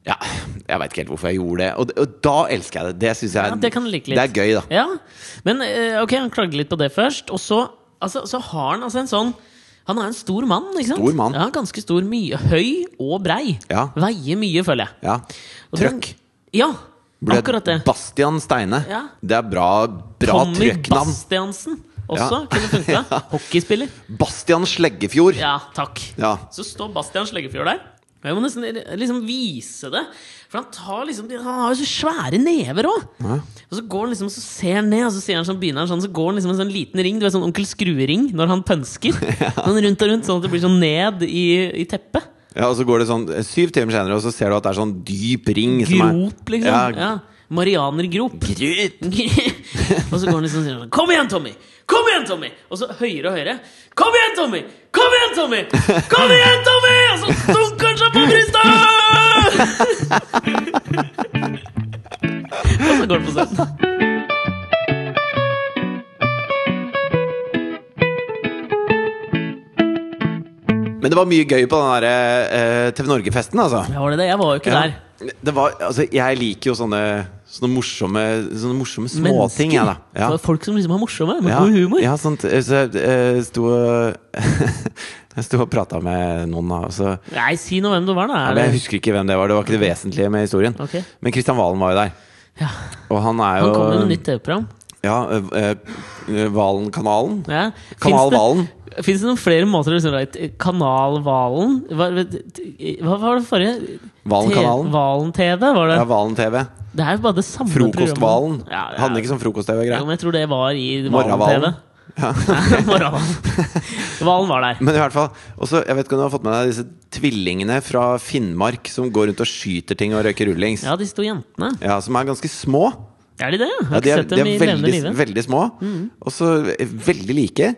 S1: Ja, jeg veit ikke helt hvorfor jeg gjorde det. Og, det- og da elsker jeg det. Det syns jeg
S2: Ja, det kan du like litt.
S1: det er gøy, da.
S2: Ja. Men eh, ok, han klagde litt på det først. Og så altså, så har han altså en sånn Han er en stor mann, ikke sant?
S1: Stor mann.
S2: Ja, ganske stor. Mye høy og brei.
S1: Ja.
S2: Veier mye, føler jeg.
S1: Ja.
S2: Og
S1: Trøkk.
S2: den- Ja,
S1: Blir det
S2: akkurat det.
S1: Bastian Steine.
S2: Ja.
S1: Det er bra, bra
S2: Tommy
S1: trøkknavn.
S2: Bastiansen også kunne funka. Hockeyspiller.
S1: Bastian Sleggefjord.
S2: Ja, takk.
S1: Ja.
S2: Så står Bastian Sleggefjord der. Og Jeg må nesten liksom vise det. For han, tar liksom, han har jo så svære never òg! Og så går han liksom Så ser han ned, og så sier han sånn, begynner han sånn Så går han liksom en sånn liten ring, du vet sånn Onkel Skrue-ring når han pønsker. Sånn rundt og rundt, sånn at det blir sånn ned i, i teppet.
S1: Ja, og så går det sånn eh, syv timer senere, og så ser du at det er sånn dyp ring som er
S2: Grop, liksom. Ja. Marianergrop.
S1: Grut.
S2: og så går han liksom og sier sånn Kom igjen, Tommy! Kom igjen, Tommy! Og så høyere og høyere. Kom igjen, Tommy! Kom igjen, Tommy! Kom igjen, Tommy! Og så dunker han seg på brystet! og så går han på scenen.
S1: Men det var mye gøy på den der eh, TV Norge-festen, altså.
S2: Ja, var det det? Jeg var jo ikke der.
S1: Det var, altså, jeg liker jo sånne, sånne morsomme, sånne morsomme småting, jeg, da. Ja.
S2: For Folk som liksom er morsomme, med
S1: Ja,
S2: god humor.
S1: Ja, sant. Så jeg eh, sto og Jeg sto og prata med noen, da. og Så,
S2: Nei, si nå hvem du var, da.
S1: Ja,
S2: Er
S1: men jeg
S2: det-
S1: husker ikke hvem det var. Det var ikke det vesentlige med historien.
S2: Ok.
S1: Men Kristian Valen var jo der.
S2: Ja.
S1: Og han er jo
S2: Han kom jo med nytt TV-program.
S1: Ja, eh, eh, Valen-kanalen.
S2: Ja.
S1: Kanal
S2: Finnes det-
S1: Valen.
S2: Fins det noen flere måter å liksom, right, Kanalhvalen Hva, hva var det forrige?
S1: Valenkanalen.
S2: Valen-TV, var det?
S1: Ja, Valen-TV.
S2: det er jo bare det samme
S1: Frokost-Valen.
S2: programmet. Ja, det er-
S1: Handler ikke om
S2: Jo,
S1: frokost-TV-greier.
S2: men jeg tror det var i
S1: Morravalen.
S2: Valen-TV. Morravalen. Valen var der.
S1: Men i hvert fall Og så, jeg vet ikke om du har fått med deg disse tvillingene fra Finnmark som går rundt og skyter ting og røyker rullings. Ja.
S2: Ja, disse to jentene.
S1: Som er ganske små.
S2: Er de det? Jeg har
S1: Ja,
S2: ikke
S1: de er,
S2: sett
S1: de
S2: dem
S1: er
S2: i levende
S1: veldig,
S2: live.
S1: veldig små. Og så eh, veldig like.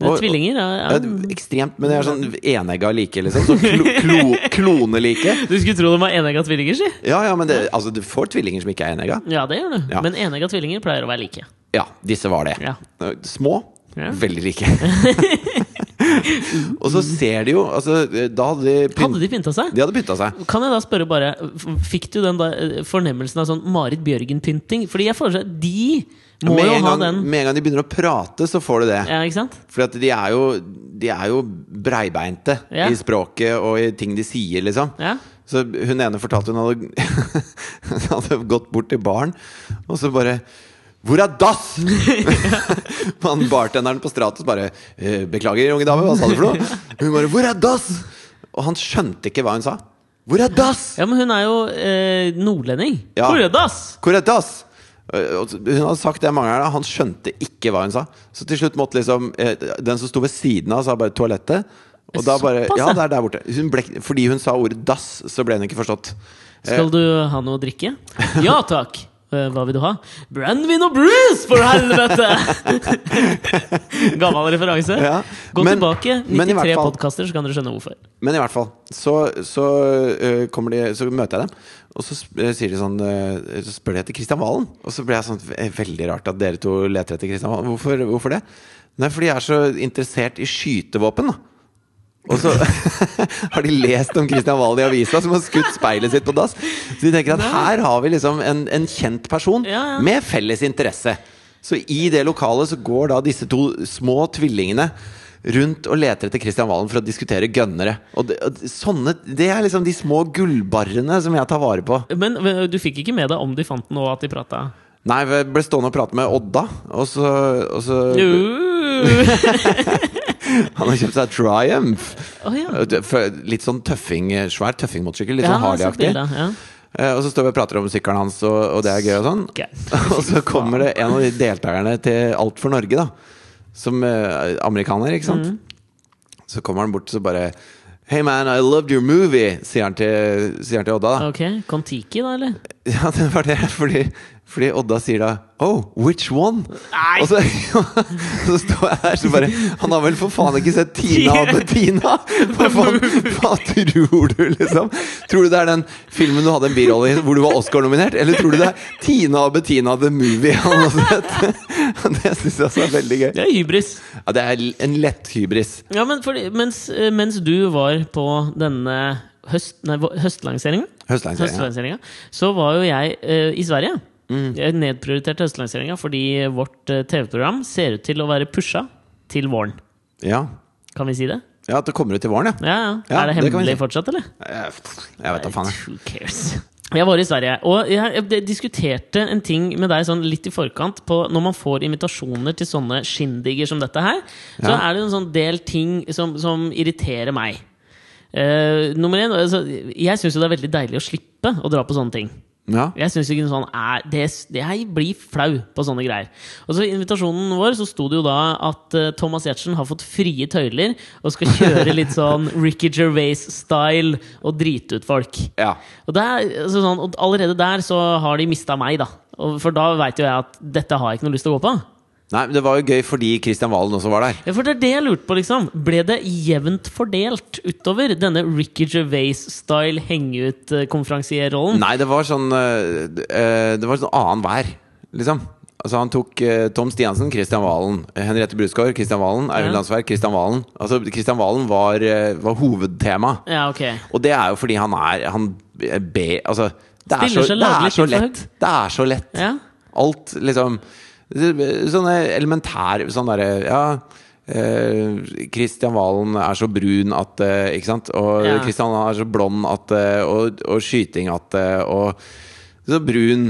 S2: Det er Tvillinger. Ja,
S1: Ja,
S2: ja.
S1: ekstremt, men de er sånn enegga like, liksom. Så klo, klo, klonelike.
S2: Du skulle tro de var enegga tvillinger, si.
S1: Ja, ja, men det, altså, du får tvillinger som ikke er enegga.
S2: Ja, det gjør du.
S1: Ja.
S2: Men enegga tvillinger pleier å være like.
S1: Ja, disse var det.
S2: Ja.
S1: Små,
S2: Ja.
S1: veldig like. og så ser de jo altså, Da hadde de pynt,
S2: Hadde de pynta seg?
S1: De hadde pynta seg.
S2: Kan jeg da spørre bare f- Fikk du den da, eh, fornemmelsen av sånn Marit Bjørgen-pynting? Fordi jeg foreslår at de må
S1: Med
S2: jo
S1: en,
S2: ha
S1: gang,
S2: den
S1: med en gang de begynner å prate, så får du det.
S2: Ja, ikke sant?
S1: For at de er jo, de er jo breibeinte
S2: Ja.
S1: i språket og i ting de sier, liksom.
S2: Ja.
S1: Så hun ene fortalte hun hadde, hun hadde gått bort til baren, og så bare hvor er dass?! Han bartenderen på Stratos bare «Eh, 'Beklager, unge dame, hva sa du for noe?' Hun bare 'Hvor er dass?!' Og han skjønte ikke hva hun sa. 'Hvor er dass?!'
S2: ja, men hun er jo eh, nordlending.
S1: Ja.
S2: Korødas!
S1: Hvor er dass? Eh, og Hun hadde sagt det mange ganger, han skjønte ikke hva hun sa. Så til slutt måtte liksom eh, den som sto ved siden av, sa bare 'toalettet'. Og da bare
S2: Såpass,
S1: Ja,
S2: ja.
S1: det er der borte. Hun ble, fordi hun sa ordet 'dass', så ble hun ikke forstått. Eh.
S2: Skal du ha noe å drikke? Ja takk! Eh, Hva vil du ha? Brandvin og brus, for helvete! Gammel referanse.
S1: Eh, Ja,
S2: Gå
S1: men-
S2: tilbake
S1: men i hvert
S2: 93
S1: fall-
S2: podkaster, så kan dere skjønne hvorfor.
S1: Men i hvert fall, så, så, eh, kommer de, så møter jeg dem, og så sp- eh, sier de sånn eh, Så spør de etter Kristian Valen. Og så ble jeg sånn eh, Veldig rart at dere to leter etter Kristian Valen. Hvorfor, hvorfor det? Nei, fordi jeg er så interessert i skytevåpen, da. Og så har de lest om Kristian Valen i avisa, som har skutt speilet sitt på dass. Så de tenker at her har vi liksom en, en kjent person
S2: Ja, ja.
S1: med felles interesse. Så i det lokalet så går da disse to små tvillingene rundt og leter etter Kristian Valen for å diskutere gønnere. Og det, og sånne, det er liksom de små gullbarrene som jeg tar vare på.
S2: Men eh, du fikk ikke med deg om de fant den, og at de prata?
S1: Nei, jeg ble stående og prate med Odda, og så, og så
S2: Uh.
S1: Han har kjøpt seg Triumph.
S2: Oh, ja.
S1: Litt sånn tøffing, svær tøffingmotorsykkel. Litt
S2: Ja,
S1: sånn
S2: jeg har sett
S1: Harley-aktig.
S2: bildet, ja.
S1: Eh, Og så står vi og prater om sykkelen hans, og, og det er gøy og sånn.
S2: Ok.
S1: Og så kommer det en av de deltakerne til Alt for Norge, da. Som eh, amerikaner, ikke sant. Så kommer han bort og bare Hey man, I loved your movie, sier han til, sier han til Odda. da
S2: Ok, Kon-Tiki, da, eller?
S1: Ja, det var det, fordi, fordi Odda sier da Oh, which one?
S2: Nei.
S1: Og så, så står jeg her så bare Han har vel for faen ikke sett Tina og Bettina! Hva faen, hva tror du, liksom? Tror du det er den filmen du hadde en birolle i hvor du var Oscar-nominert? Eller tror du det er Tina og Bettina the Movie han har sett? Det syns jeg også er veldig gøy.
S2: Det er hybris.
S1: Ja, det er en lett hybris.
S2: Ja, men fordi, mens, eh, mens du var på denne høst, nei, hva- høstlanseringen,
S1: Høstlandsserien.
S2: høstlanseringen, så var jo jeg eh, i Sverige. Jeg nedprioriterte høstlanseringa fordi vårt eh, TV-program ser ut til å være pusha til våren.
S1: Ja.
S2: Kan vi si det?
S1: ja, at det kommer ut til våren, ja.
S2: Ja, ja.
S1: Ja,
S2: Er det
S1: det kan vi
S2: hemmelig
S1: si.
S2: fortsatt, eller?
S1: Jeg jeg vet da faen. jeg.
S2: Who cares? Jeg var i Sverige, og jeg jeg diskuterte en ting med deg sånn litt i forkant. På når man får invitasjoner til sånne shindiger som dette her, så
S1: Ja.
S2: er det en sånn del ting som, som irriterer meg. Eh, nummer én, altså, jeg syns jo det er veldig deilig å slippe å dra på sånne ting.
S1: Ja.
S2: Jeg synes ikke sånn er, det, det Jeg blir flau på sånne greier. Og så I invitasjonen vår så sto det jo da at eh, Thomas Giertsen har fått frie tøyler og skal kjøre litt sånn Ricky Gervais-style og drite ut folk.
S1: ja.
S2: Og, det er, altså sånn, og allerede der så har de mista meg, da. Og for da veit jo jeg at dette har jeg ikke noe lyst til å gå på.
S1: Nei, men det var jo gøy fordi Kristian Valen også var der.
S2: Ja, For det er det jeg lurte på, liksom. Ble det jevnt fordelt utover denne Ricky Gervais-style henge-ut-konferansierrollen?
S1: Nei, det var sånn eh, eh, Det var sånn annenhver, liksom. Altså Han tok eh, Tom Stiansen, Kristian Valen, Henriette Brusgaard, Kristian Valen, Eivind
S2: Ja.
S1: Landsverk, Kristian Valen. Altså Kristian Valen var, eh, var hovedtema.
S2: Ja, ok
S1: Og det er jo fordi han er Han be, altså, det, er så,
S2: Stiller seg
S1: det er
S2: laglig
S1: så
S2: til for
S1: lett. Det er så lett.
S2: Ja.
S1: Alt, liksom Sånne elementære Sånn derre Ja. eh, Kristian Valen er så brun at eh, Ikke sant? Og
S2: Ja.
S1: Kristian er så blond at eh, og, og skyting at eh, Og så brun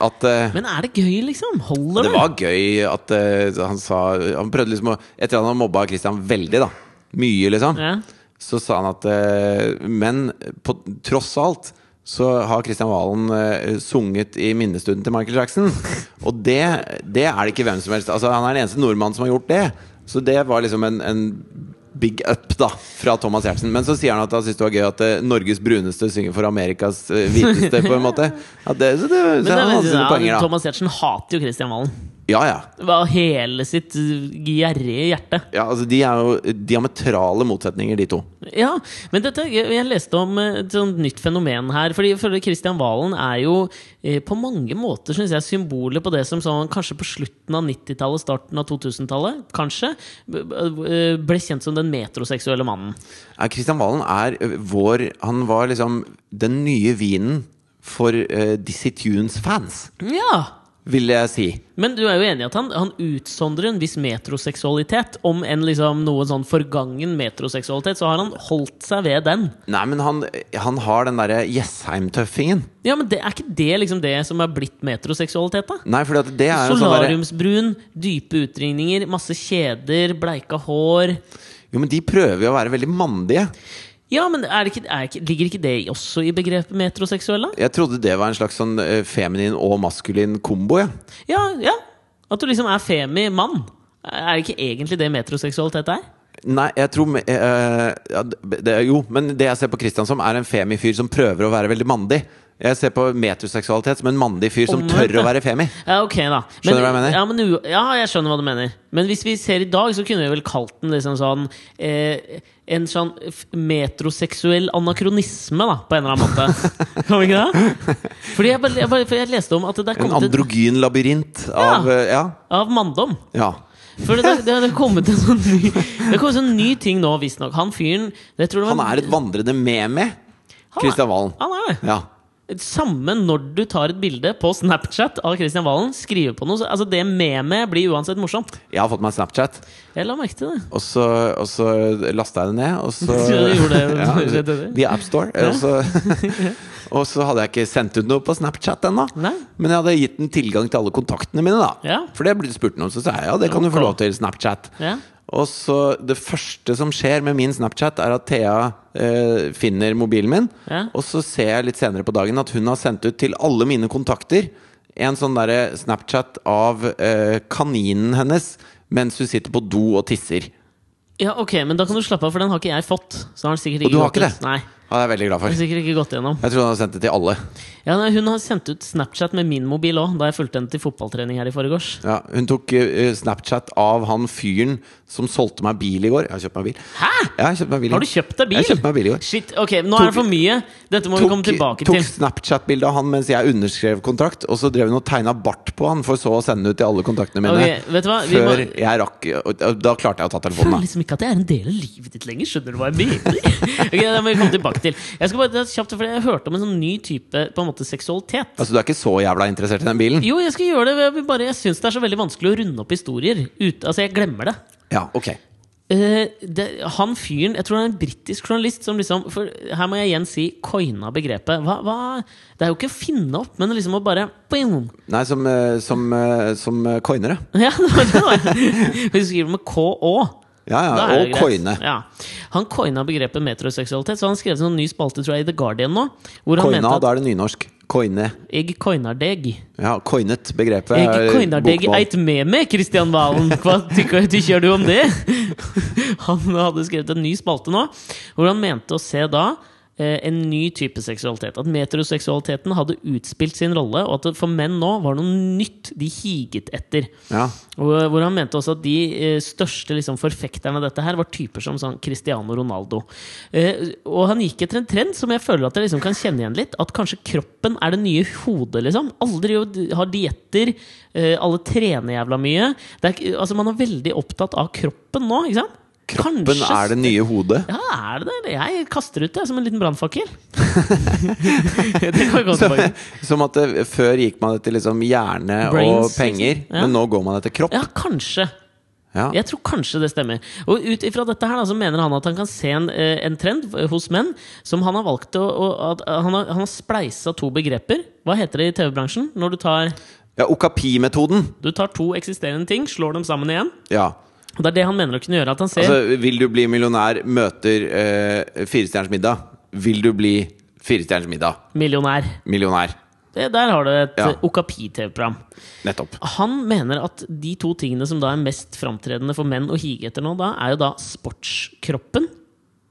S1: at eh,
S2: Men er det gøy, liksom? Holder
S1: det
S2: det?
S1: var gøy at eh, han sa Han prøvde liksom å Etter at han mobba Kristian veldig, da. Mye, liksom.
S2: Ja.
S1: Så sa han at eh, Men på tross av alt så har Kristian Valen eh, sunget i minnestunden til Michael Jackson. Og det, det er det ikke hvem som helst. Altså, han er den eneste nordmannen som har gjort det. Så det var liksom en, en big up da fra Thomas Giertsen. Men så sier han at han syns det var gøy at eh, Norges bruneste synger for Amerikas eh, hviteste, på en måte. Ja, det, så det, så
S2: Men det, liksom
S1: han hadde sine
S2: ja,
S1: poenger, da.
S2: Thomas Giertsen hater jo Christian Valen.
S1: Ja, ja.
S2: Det var hele sitt uh, gjerrige hjerte.
S1: Ja, altså De er jo diametrale motsetninger, de to.
S2: Ja, men dette, jeg, jeg leste om eh, et sånt nytt fenomen her. Fordi jeg føler Christian Valen er jo eh, på mange måter synes jeg, symbolet på det som sånn, kanskje på slutten av 90-tallet, starten av 2000-tallet, kanskje, b- b- eh, ble kjent som den metroseksuelle mannen.
S1: Ja, Kristian Valen er ø, vår Han var liksom den nye vinen for uh, Dizzie Tunes-fans,
S2: Ja,
S1: vil jeg si.
S2: Men du er jo enig i at han, han utsondrer en viss metroseksualitet? Om enn liksom noen sånn forgangen metroseksualitet, så har han holdt seg ved den.
S1: Nei, men han, han har den derre Jessheim-tøffingen.
S2: Ja, men det, Er ikke det liksom det som er blitt metroseksualitet, da?
S1: Nei, for det er jo sånn derre
S2: Solariumsbrun, dype utringninger, masse kjeder, bleika hår
S1: Jo, men de prøver jo å være veldig mandige.
S2: Ja, men er det ikke, er ikke, ligger ikke det også i begrepet metroseksuell, da?
S1: Jeg trodde det var en slags sånn ø, feminin og maskulin kombo, jeg. Ja.
S2: Ja, ja. At du liksom er femi-mann. Er det ikke egentlig det metroseksualitet er?
S1: Nei, jeg tror me- eh, ja, det, det- Jo, men det jeg ser på Kristian som, er en femifyr som prøver å være veldig mandig. Jeg ser på metroseksualitet som en mandig fyr som
S2: Omvendt,
S1: tør å
S2: ja.
S1: være femi.
S2: Ja, ok da men,
S1: Skjønner du hva jeg mener?
S2: Ja, men, u- ja, jeg skjønner hva du mener Men hvis vi ser i dag så kunne vi vel kalt den liksom sånn eh, En sånn f- metroseksuell anakronisme da På en eller annen måte Kan vi ikke det? Fordi jeg, bare, jeg, bare, for jeg leste om at det er
S1: En
S2: kommet et,
S1: androgyn labyrint av eh, Ja.
S2: Av manndom
S1: ja.
S2: For det, det, det er kommet en sånn ny Det er kommet en sånn ny ting nå visstnok. Han fyren det tror jeg
S1: Han
S2: var-
S1: er et vandrende meme.
S2: Han er-
S1: Kristian Valen.
S2: Han er det
S1: Ja.
S2: Samme når du tar et bilde på Snapchat Av Kristian Valen Skriver på noe så, Altså det memet blir uansett morsomt
S1: Jeg har fått meg Snapchat,
S2: Jeg la merke til det
S1: og så, og så lasta jeg det ned. Og så,
S2: Så du gjorde det rett
S1: ja,
S2: over?
S1: via AppStore. Og, så- og så hadde jeg ikke sendt ut noe på Snapchat ennå.
S2: Nei.
S1: Men jeg hadde gitt den tilgang til alle kontaktene mine. da
S2: Ja.
S1: For det ble det spurt noen, så sa jeg ja, det kan du
S2: Ok.
S1: få lov til. Snapchat.
S2: Ja.
S1: Og så Det første som skjer med min Snapchat, er at Thea eh, finner mobilen min.
S2: Ja.
S1: Og så ser jeg litt senere på dagen at hun har sendt ut til alle mine kontakter en sånn derre Snapchat av eh, kaninen hennes mens hun sitter på do og tisser.
S2: Ja, ok, men da kan du slappe av, for den har ikke jeg fått. Så har den sikkert
S1: Og du
S2: ikke
S1: har
S2: gått
S1: ikke
S2: ut.
S1: det?
S2: Nei,
S1: Ja, det er jeg veldig glad
S2: den har
S1: for.
S2: sikkert ikke gått gjennom.
S1: Jeg tror hun har sendt det til alle.
S2: Ja, nei, Hun har sendt ut Snapchat med min mobil òg, da jeg fulgte henne til fotballtrening her i forgårs.
S1: Ja, hun tok eh, Snapchat av han fyren som solgte meg bil i går. Jeg har kjøpt meg bil.
S2: Hæ?!
S1: Jeg har kjøpt meg bil. i
S2: Har du
S1: går.
S2: kjøpt deg bil?
S1: Jeg kjøpte meg bil i går.
S2: Shit, ok, nå
S1: Tok-
S2: er det for mye. Dette må vi komme tilbake
S1: tok
S2: til.
S1: Snapchat-bilde av han mens jeg underskrev kontrakt, og så drev hun og tegna bart på han, for så å sende ut til alle kontaktene mine.
S2: Ok, vet du hva? Vi
S1: Før
S2: må-
S1: jeg rakk og- og Da klarte jeg å ta
S2: Jeg føler
S1: telefonen, da.
S2: liksom ikke at jeg er en del av livet ditt lenger. Skjønner du hva jeg mener? Ok, det må vi komme tilbake til. Jeg skal bare, det er kjapt, for jeg hørte om en sånn ny type på en måte seksualitet.
S1: Altså, du er ikke så jævla interessert i den bilen?
S2: Jo, jeg skal gjøre det. men Jeg, vil bare, jeg syns det er så veldig vanskelig å runde opp historier. Ut, altså, jeg glemmer det.
S1: Ja, ok.
S2: Eh, det, han fyren, jeg tror han er en britisk journalist som liksom For her må jeg igjen si coina begrepet. Hva, hva, det er jo ikke å finne opp, men liksom å bare boom.
S1: Nei, som, eh, som, eh, som eh, coinere.
S2: Ja, det var det var. Hvis du skriver med KÅ.
S1: Ja, ja.
S2: da er det
S1: Og
S2: greit.
S1: coine.
S2: Ja. Han coina begrepet metroseksualitet, så han skrev en ny spalte tror jeg, i The Guardian nå. Hvor han
S1: Coina,
S2: mente at
S1: da er det nynorsk. Coine.
S2: jeg coinar deg.
S1: Ja, coinet begrepet.
S2: Jeg
S1: er
S2: coinar deg
S1: bokmål.
S2: eit med meg, Kristian Valen! Hva tykker tykker du om det? Han hadde skrevet en ny spalte nå, hvor han mente å se da eh, en ny type seksualitet. At metroseksualiteten hadde utspilt sin rolle, og at det for menn nå var noe nytt de higet etter.
S1: Ja.
S2: Og, hvor han mente også at de eh, største liksom, forfekterne av dette her var typer som sånn Cristiano Ronaldo. Eh, og han gikk etter en trend som jeg føler at jeg liksom kan kjenne igjen litt. At kanskje kroppen er det nye hodet, liksom. Alle driver og har dietter. Eh, alle trener jævla mye. Det er, ikke- altså, man er veldig opptatt av kroppen nå, ikke sant?
S1: Kroppen er det nye hodet.
S2: Ja, er det det? Jeg kaster ut det som en liten brannfakkel. det kan vi gå tilbake til.
S1: Som at det, før gikk man etter liksom hjerne og
S2: Brains,
S1: penger,
S2: liksom. Ja.
S1: men nå går man etter kropp.
S2: Ja, kanskje.
S1: Ja.
S2: Jeg tror kanskje det stemmer. Og ut ifra dette her da, så mener han at han kan se en, eh, en trend hos menn som han har valgt å, å at eh, Han har, han har spleisa to begreper. Hva heter det i TV-bransjen? Når du tar,
S1: Ja, Okapi-metoden.
S2: du tar to eksisterende ting, slår dem sammen igjen.
S1: Ja.
S2: Og det er det han mener å kunne gjøre. At han ser
S1: Altså, vil du bli millionær, møter eh, Firestjerners middag. Vil du bli Firestjerners middag,
S2: millionær.
S1: millionær.
S2: Det, der har du et
S1: Ja.
S2: eh, okapi-TV-program.
S1: Nettopp.
S2: Han mener at de to tingene som da er mest framtredende for menn å hige etter nå, da, er jo da sportskroppen.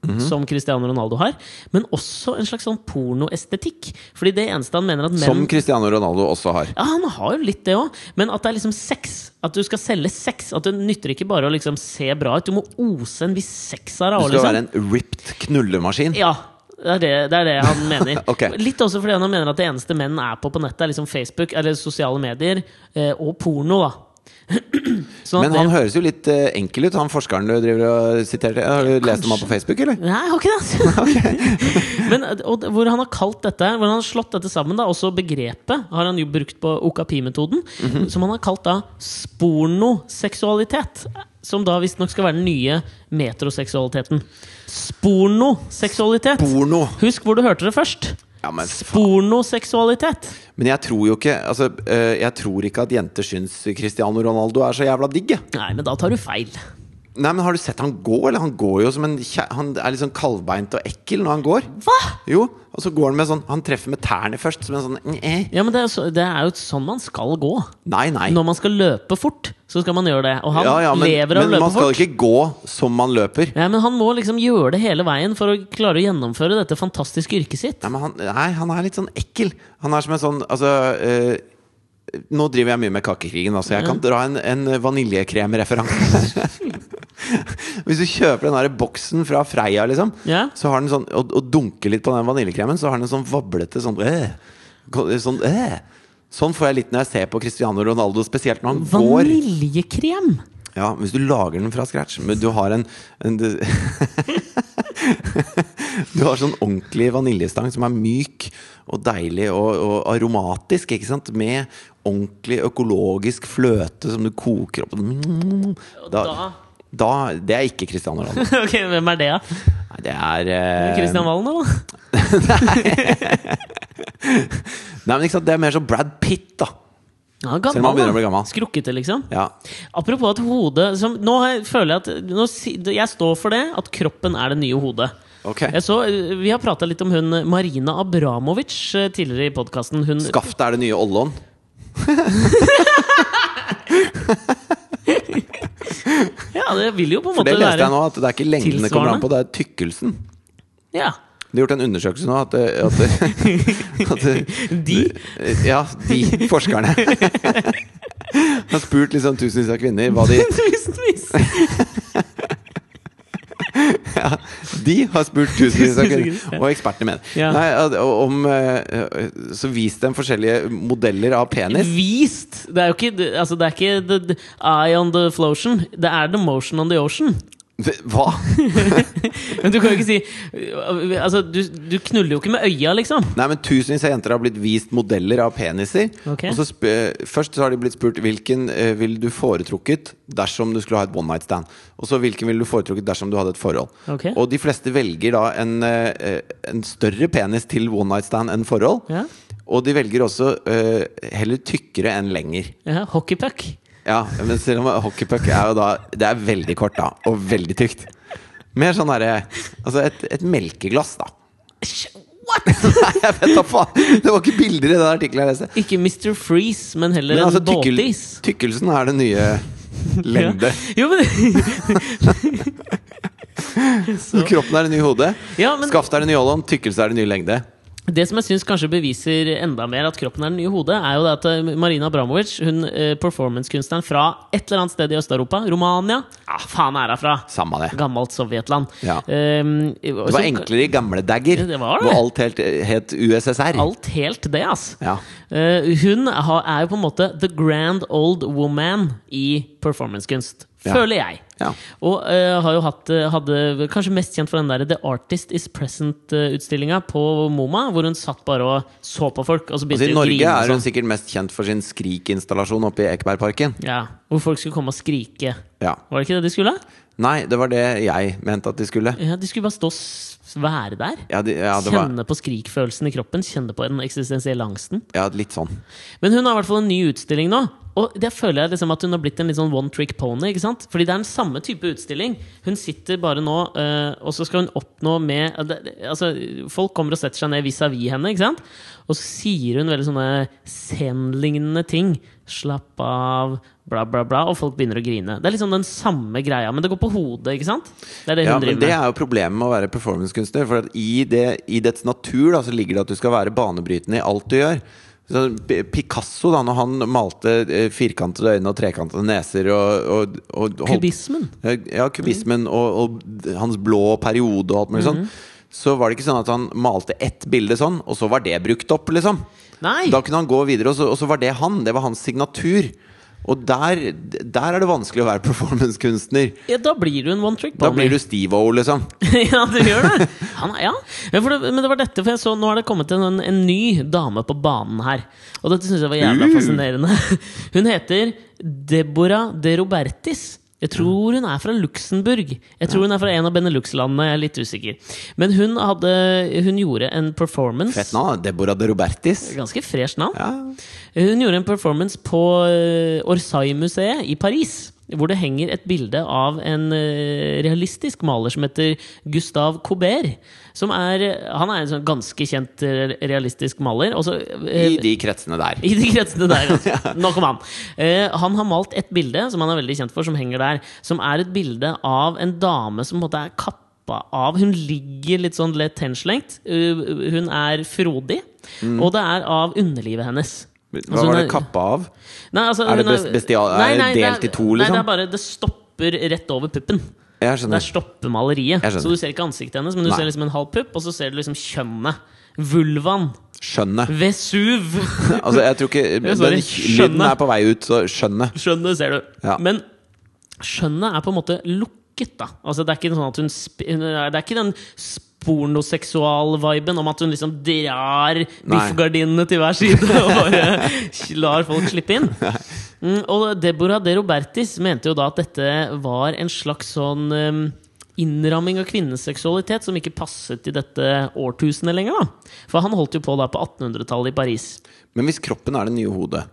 S1: Mhm.
S2: Som Cristiano Ronaldo har. Men også en slags sånn pornoestetikk. Fordi det eneste han mener at menn
S1: Som Cristiano Ronaldo også har.
S2: Ja, han har jo litt det òg, men at det er liksom sex. At du skal selge sex. At det nytter ikke bare å liksom se bra ut. Du må ose en viss sex av deg.
S1: Du
S2: også,
S1: skal
S2: Liksom.
S1: være en ripped knullemaskin.
S2: Ja, det er det, det er det han mener.
S1: Ok.
S2: Litt også fordi han mener at det eneste menn er på på nettet, er liksom Facebook eller sosiale medier eh, og porno. da Sånn at
S1: Men han høres jo litt eh, enkel ut, han forskeren du driver og siterte. Har du lest om han på Facebook, eller?
S2: Nei, jeg har ikke det. altså. Men, eh, og, d- hvor han har kalt dette Hvor han har slått dette sammen, da også begrepet har han jo brukt på OKP-metoden,
S1: Mhm.
S2: som han har kalt da spornoseksualitet. Som da visstnok skal være den nye metroseksualiteten. Spornoseksualitet!
S1: Porno!
S2: Husk hvor du hørte det først.
S1: Ja, men
S2: Spornoseksualitet.
S1: Men jeg tror jo ikke altså, eh, Jeg tror ikke at jenter syns Cristiano Ronaldo er så jævla digg. jeg.
S2: Nei, men da tar du feil.
S1: Nei, men Har du sett han gå? Eller Han går jo som en kjæ- Han er litt sånn kalvbeint og ekkel når han går.
S2: Hva?
S1: Jo, og så går han med sånn Han treffer med tærne først, som en sånn "Nye."
S2: Ja, men det er, jo så, det er jo sånn man skal gå.
S1: Nei, nei.
S2: Når man skal løpe fort, så skal man gjøre det. Og han
S1: Ja, ja, men,
S2: lever av å
S1: men
S2: løpe
S1: man skal
S2: fort.
S1: ikke gå som man løper.
S2: Ja, men han må liksom gjøre det hele veien for å klare å gjennomføre dette fantastiske yrket sitt.
S1: Nei, men han, nei, han er litt sånn ekkel. Han er som en sånn Altså eh, Nå driver jeg mye med kakekrigen, da, så jeg kan dra en, en vaniljekremreferanse. Hvis du kjøper den der boksen fra Freia, liksom,
S2: Ja.
S1: så har den sånn, og, og dunker litt på den vaniljekremen, så har den en sånn vablete sånn øh, ko- Sånn, øh. sånn får jeg litt når jeg ser på Cristiano Ronaldo, spesielt når han går.
S2: Vaniljekrem!
S1: Ja, Hvis du lager den fra scratch, men du har en, en du, du har sånn ordentlig vaniljestang som er myk og deilig og, og aromatisk, ikke sant? Med ordentlig økologisk fløte som du koker opp Mm.
S2: da?
S1: da Det er ikke Christian Ronaldo.
S2: ok, Hvem er det, da?
S1: Nei, det er eh,
S2: Kristian Valen, eller?
S1: Nei, men ikke sant, Det er mer som Brad Pitt, da.
S2: Ja,
S1: Selv om han
S2: gammel,
S1: begynner å bli
S2: da.
S1: gammel.
S2: Skrukkete, liksom.
S1: Ja.
S2: Apropos at hodet som, Nå har jeg- føler jeg at nå, si- Jeg står for det, at kroppen er det nye hodet.
S1: Ok.
S2: Jeg så, eh, vi har prata litt om hun Marina Abramovic eh, tidligere i podkasten. Hun
S1: Skaft er det nye Ollon.
S2: Ja, det vil jo på en
S1: For
S2: måte
S1: det leste jeg
S2: være
S1: nå, at det er ikke lengden det kommer
S2: tilsvarende.
S1: an på, det er tykkelsen.
S2: ja.
S1: Det er gjort en undersøkelse nå at, at, at, eh,
S2: De
S1: Ja, de forskerne. Har spurt liksom tusenvis av kvinner hva de
S2: Tusenvis!
S1: De har spurt tusenvis av kvinner, og ekspertene mener.
S2: Ja.
S1: Nei, at- om, eh, så viste dem forskjellige modeller av penis.
S2: Vist! Det er jo ikke, det- altså det er ikke the, the eye on the flotion. Det er the motion on the ocean.
S1: Det- Hva?
S2: Men du kan jo ikke si Altså, du, du knuller jo ikke med øya, liksom.
S1: Nei, men Tusenvis av jenter har blitt vist modeller av peniser.
S2: Ok.
S1: Og så sp eh, først så har de blitt spurt hvilken eh, ville du foretrukket dersom du skulle ha et one night stand. Og så hvilken ville du foretrukket dersom du hadde et forhold.
S2: Ok.
S1: Og de fleste velger da en, eh, eh, en større penis til one night stand enn forhold.
S2: Ja.
S1: Og de velger også eh, heller tykkere enn lenger.
S2: Ja, Hockeypuck.
S1: Ja, men selv om hockeypuck er jo da Det er veldig kort, da. Og veldig tykt. Mer sånn derre Altså et, et melkeglass, da.
S2: What?!
S1: Nei, jeg vet da faen! Det var ikke bilder i den artikkelen jeg leste.
S2: Ikke Mr. Freeze, men heller
S1: Men altså,
S2: en
S1: tykkel,
S2: båtis.
S1: tykkelsen er den nye lengde.
S2: Ja. Jo, men
S1: Så kroppen er det nye hodet.
S2: Ja, men-
S1: Skaftet er det nye Holland, tykkelse er det nye lengde.
S2: Det som jeg syns kanskje beviser enda mer at kroppen er den nye hodet, er jo det at eh, Marina Abramovic, hun eh, performancekunstneren fra et eller annet sted i Øst-Europa, Romania ah, Faen er hun fra!
S1: Samme det.
S2: Gammelt sovjetland.
S1: Ja.
S2: Ehm,
S1: Det var enklere i gamle dagger.
S2: Det var det.
S1: Hvor alt helt het USSR.
S2: Alt helt det, ass.
S1: Ja.
S2: Eh, hun har, er jo på en måte the grand old woman i performancekunst.
S1: Ja.
S2: Føler jeg.
S1: Ja.
S2: Og eh, har jo hatt eh, hadde, Kanskje mest kjent for den der The Artist Is Present-utstillinga på MoMA, hvor hun satt bare og så på folk, og så
S1: Altså,
S2: begynte
S1: I
S2: de å
S1: Norge
S2: grine. og
S1: er hun
S2: sånn.
S1: sikkert mest kjent for sin skrikinstallasjon oppe i Ekebergparken.
S2: Ja, Hvor folk skulle komme og skrike.
S1: Ja.
S2: Var det ikke det de skulle?
S1: Nei, det var det jeg mente at de skulle.
S2: Ja, De skulle bare stå og s- være der.
S1: Ja, de, ja, det var,
S2: Kjenne på skrikfølelsen i kroppen, kjenne på den eksistensielle angsten.
S1: ja litt sånn.
S2: Men hun har i hvert fall en ny utstilling nå. Og det føler jeg liksom at hun har blitt en litt sånn one trick pony. ikke sant? Fordi det er den samme type utstilling. Hun sitter bare nå, eh, og så skal hun oppnå med Altså, Folk kommer og setter seg ned vis-à-vis henne, ikke sant? og så sier hun veldig sånne zen-lignende ting. Slapp av, bla, bla, bla. Og folk begynner å grine. Det er liksom den samme greia, men det går på hodet, ikke sant? Det er det hun
S1: Ja, men
S2: driver
S1: Det
S2: med.
S1: er jo problemet med å være performancekunstner. For at i, det, i dets natur da, så ligger det at du skal være banebrytende i alt du gjør. Så P- Picasso, da når han malte eh, firkantede øyne og trekantede neser og, og, og holdt- Eh,
S2: Kubismen.
S1: Ja, kubismen og, og d- hans blå periode og alt mulig sånn.
S2: Mhm.
S1: Så var det ikke sånn at han malte ett bilde sånn, og så var det brukt opp, liksom.
S2: Nei!
S1: Da kunne han gå videre, og så, og så var det han. Det var hans signatur. Og der, der er det vanskelig å være performancekunstner.
S2: ja, da blir du en one trick pony.
S1: Da blir du Steve-O, liksom.
S2: ja, du gjør det! Han, ja. men, for det! Men det var dette, for jeg så nå har det kommet en, en ny dame på banen her. Og dette syns jeg var jævla
S1: Uh.
S2: fascinerende. Hun heter Deborah de Robertis. Jeg tror hun er fra Luxembourg. Jeg tror hun er fra en av Benelux-landene. Jeg er litt usikker. Men hun, hadde, hun gjorde en performance.
S1: Fett navn, da. Deborah de Robertis.
S2: Ganske fresh navn.
S1: Ja.
S2: Hun gjorde en performance på eh, Orsay-museet i Paris. Hvor det henger et bilde av en eh, realistisk maler som heter Gustav Courbet. Som er, han er en sånn ganske kjent eh, realistisk maler. Og så, eh,
S1: I de kretsene der.
S2: i de kretsene der, altså. Nok om han. Eh, han har malt et bilde som han er veldig kjent for, som henger der. Som er et bilde av en dame som på en måte er kappa av. Hun ligger litt sånn lett henslengt. Uh, Hun er frodig. Og det er av underlivet hennes.
S1: Hva
S2: Altså, hun
S1: var
S2: er-
S1: det kappa av?
S2: Nei, altså,
S1: Er det
S2: hun
S1: bes- bestial- er det delt i to,
S2: Nei, det
S1: liksom?
S2: er bare Det stopper rett over puppen.
S1: Jeg
S2: Der
S1: skjønner.
S2: stopper maleriet.
S1: Jeg skjønner.
S2: Så du ser ikke ansiktet hennes, men du
S1: Nei.
S2: ser liksom en halv pupp, og så ser du liksom kjønnet. Vulvaen.
S1: Skjønnet.
S2: Vesuv.
S1: Altså, jeg tror ikke
S2: Jeg
S1: Den
S2: sorry.
S1: lyden
S2: Skjønnet.
S1: er på vei ut, så skjønnet.
S2: Skjønnet ser du.
S1: Ja.
S2: Men skjønnet er på en måte lukket, da. Altså, det er ikke sånn at hun sp hun er- Det er ikke den pornoseksual-viben om at hun liksom drar biffgardinene til hver side og bare lar folk slippe inn. Mm, og Deborah de Robertis mente jo da at dette var en slags sånn um, innramming av kvinnens seksualitet som ikke passet i dette årtusenet lenger. da For han holdt jo på da på 1800-tallet i Paris.
S1: Men hvis kroppen er det nye hodet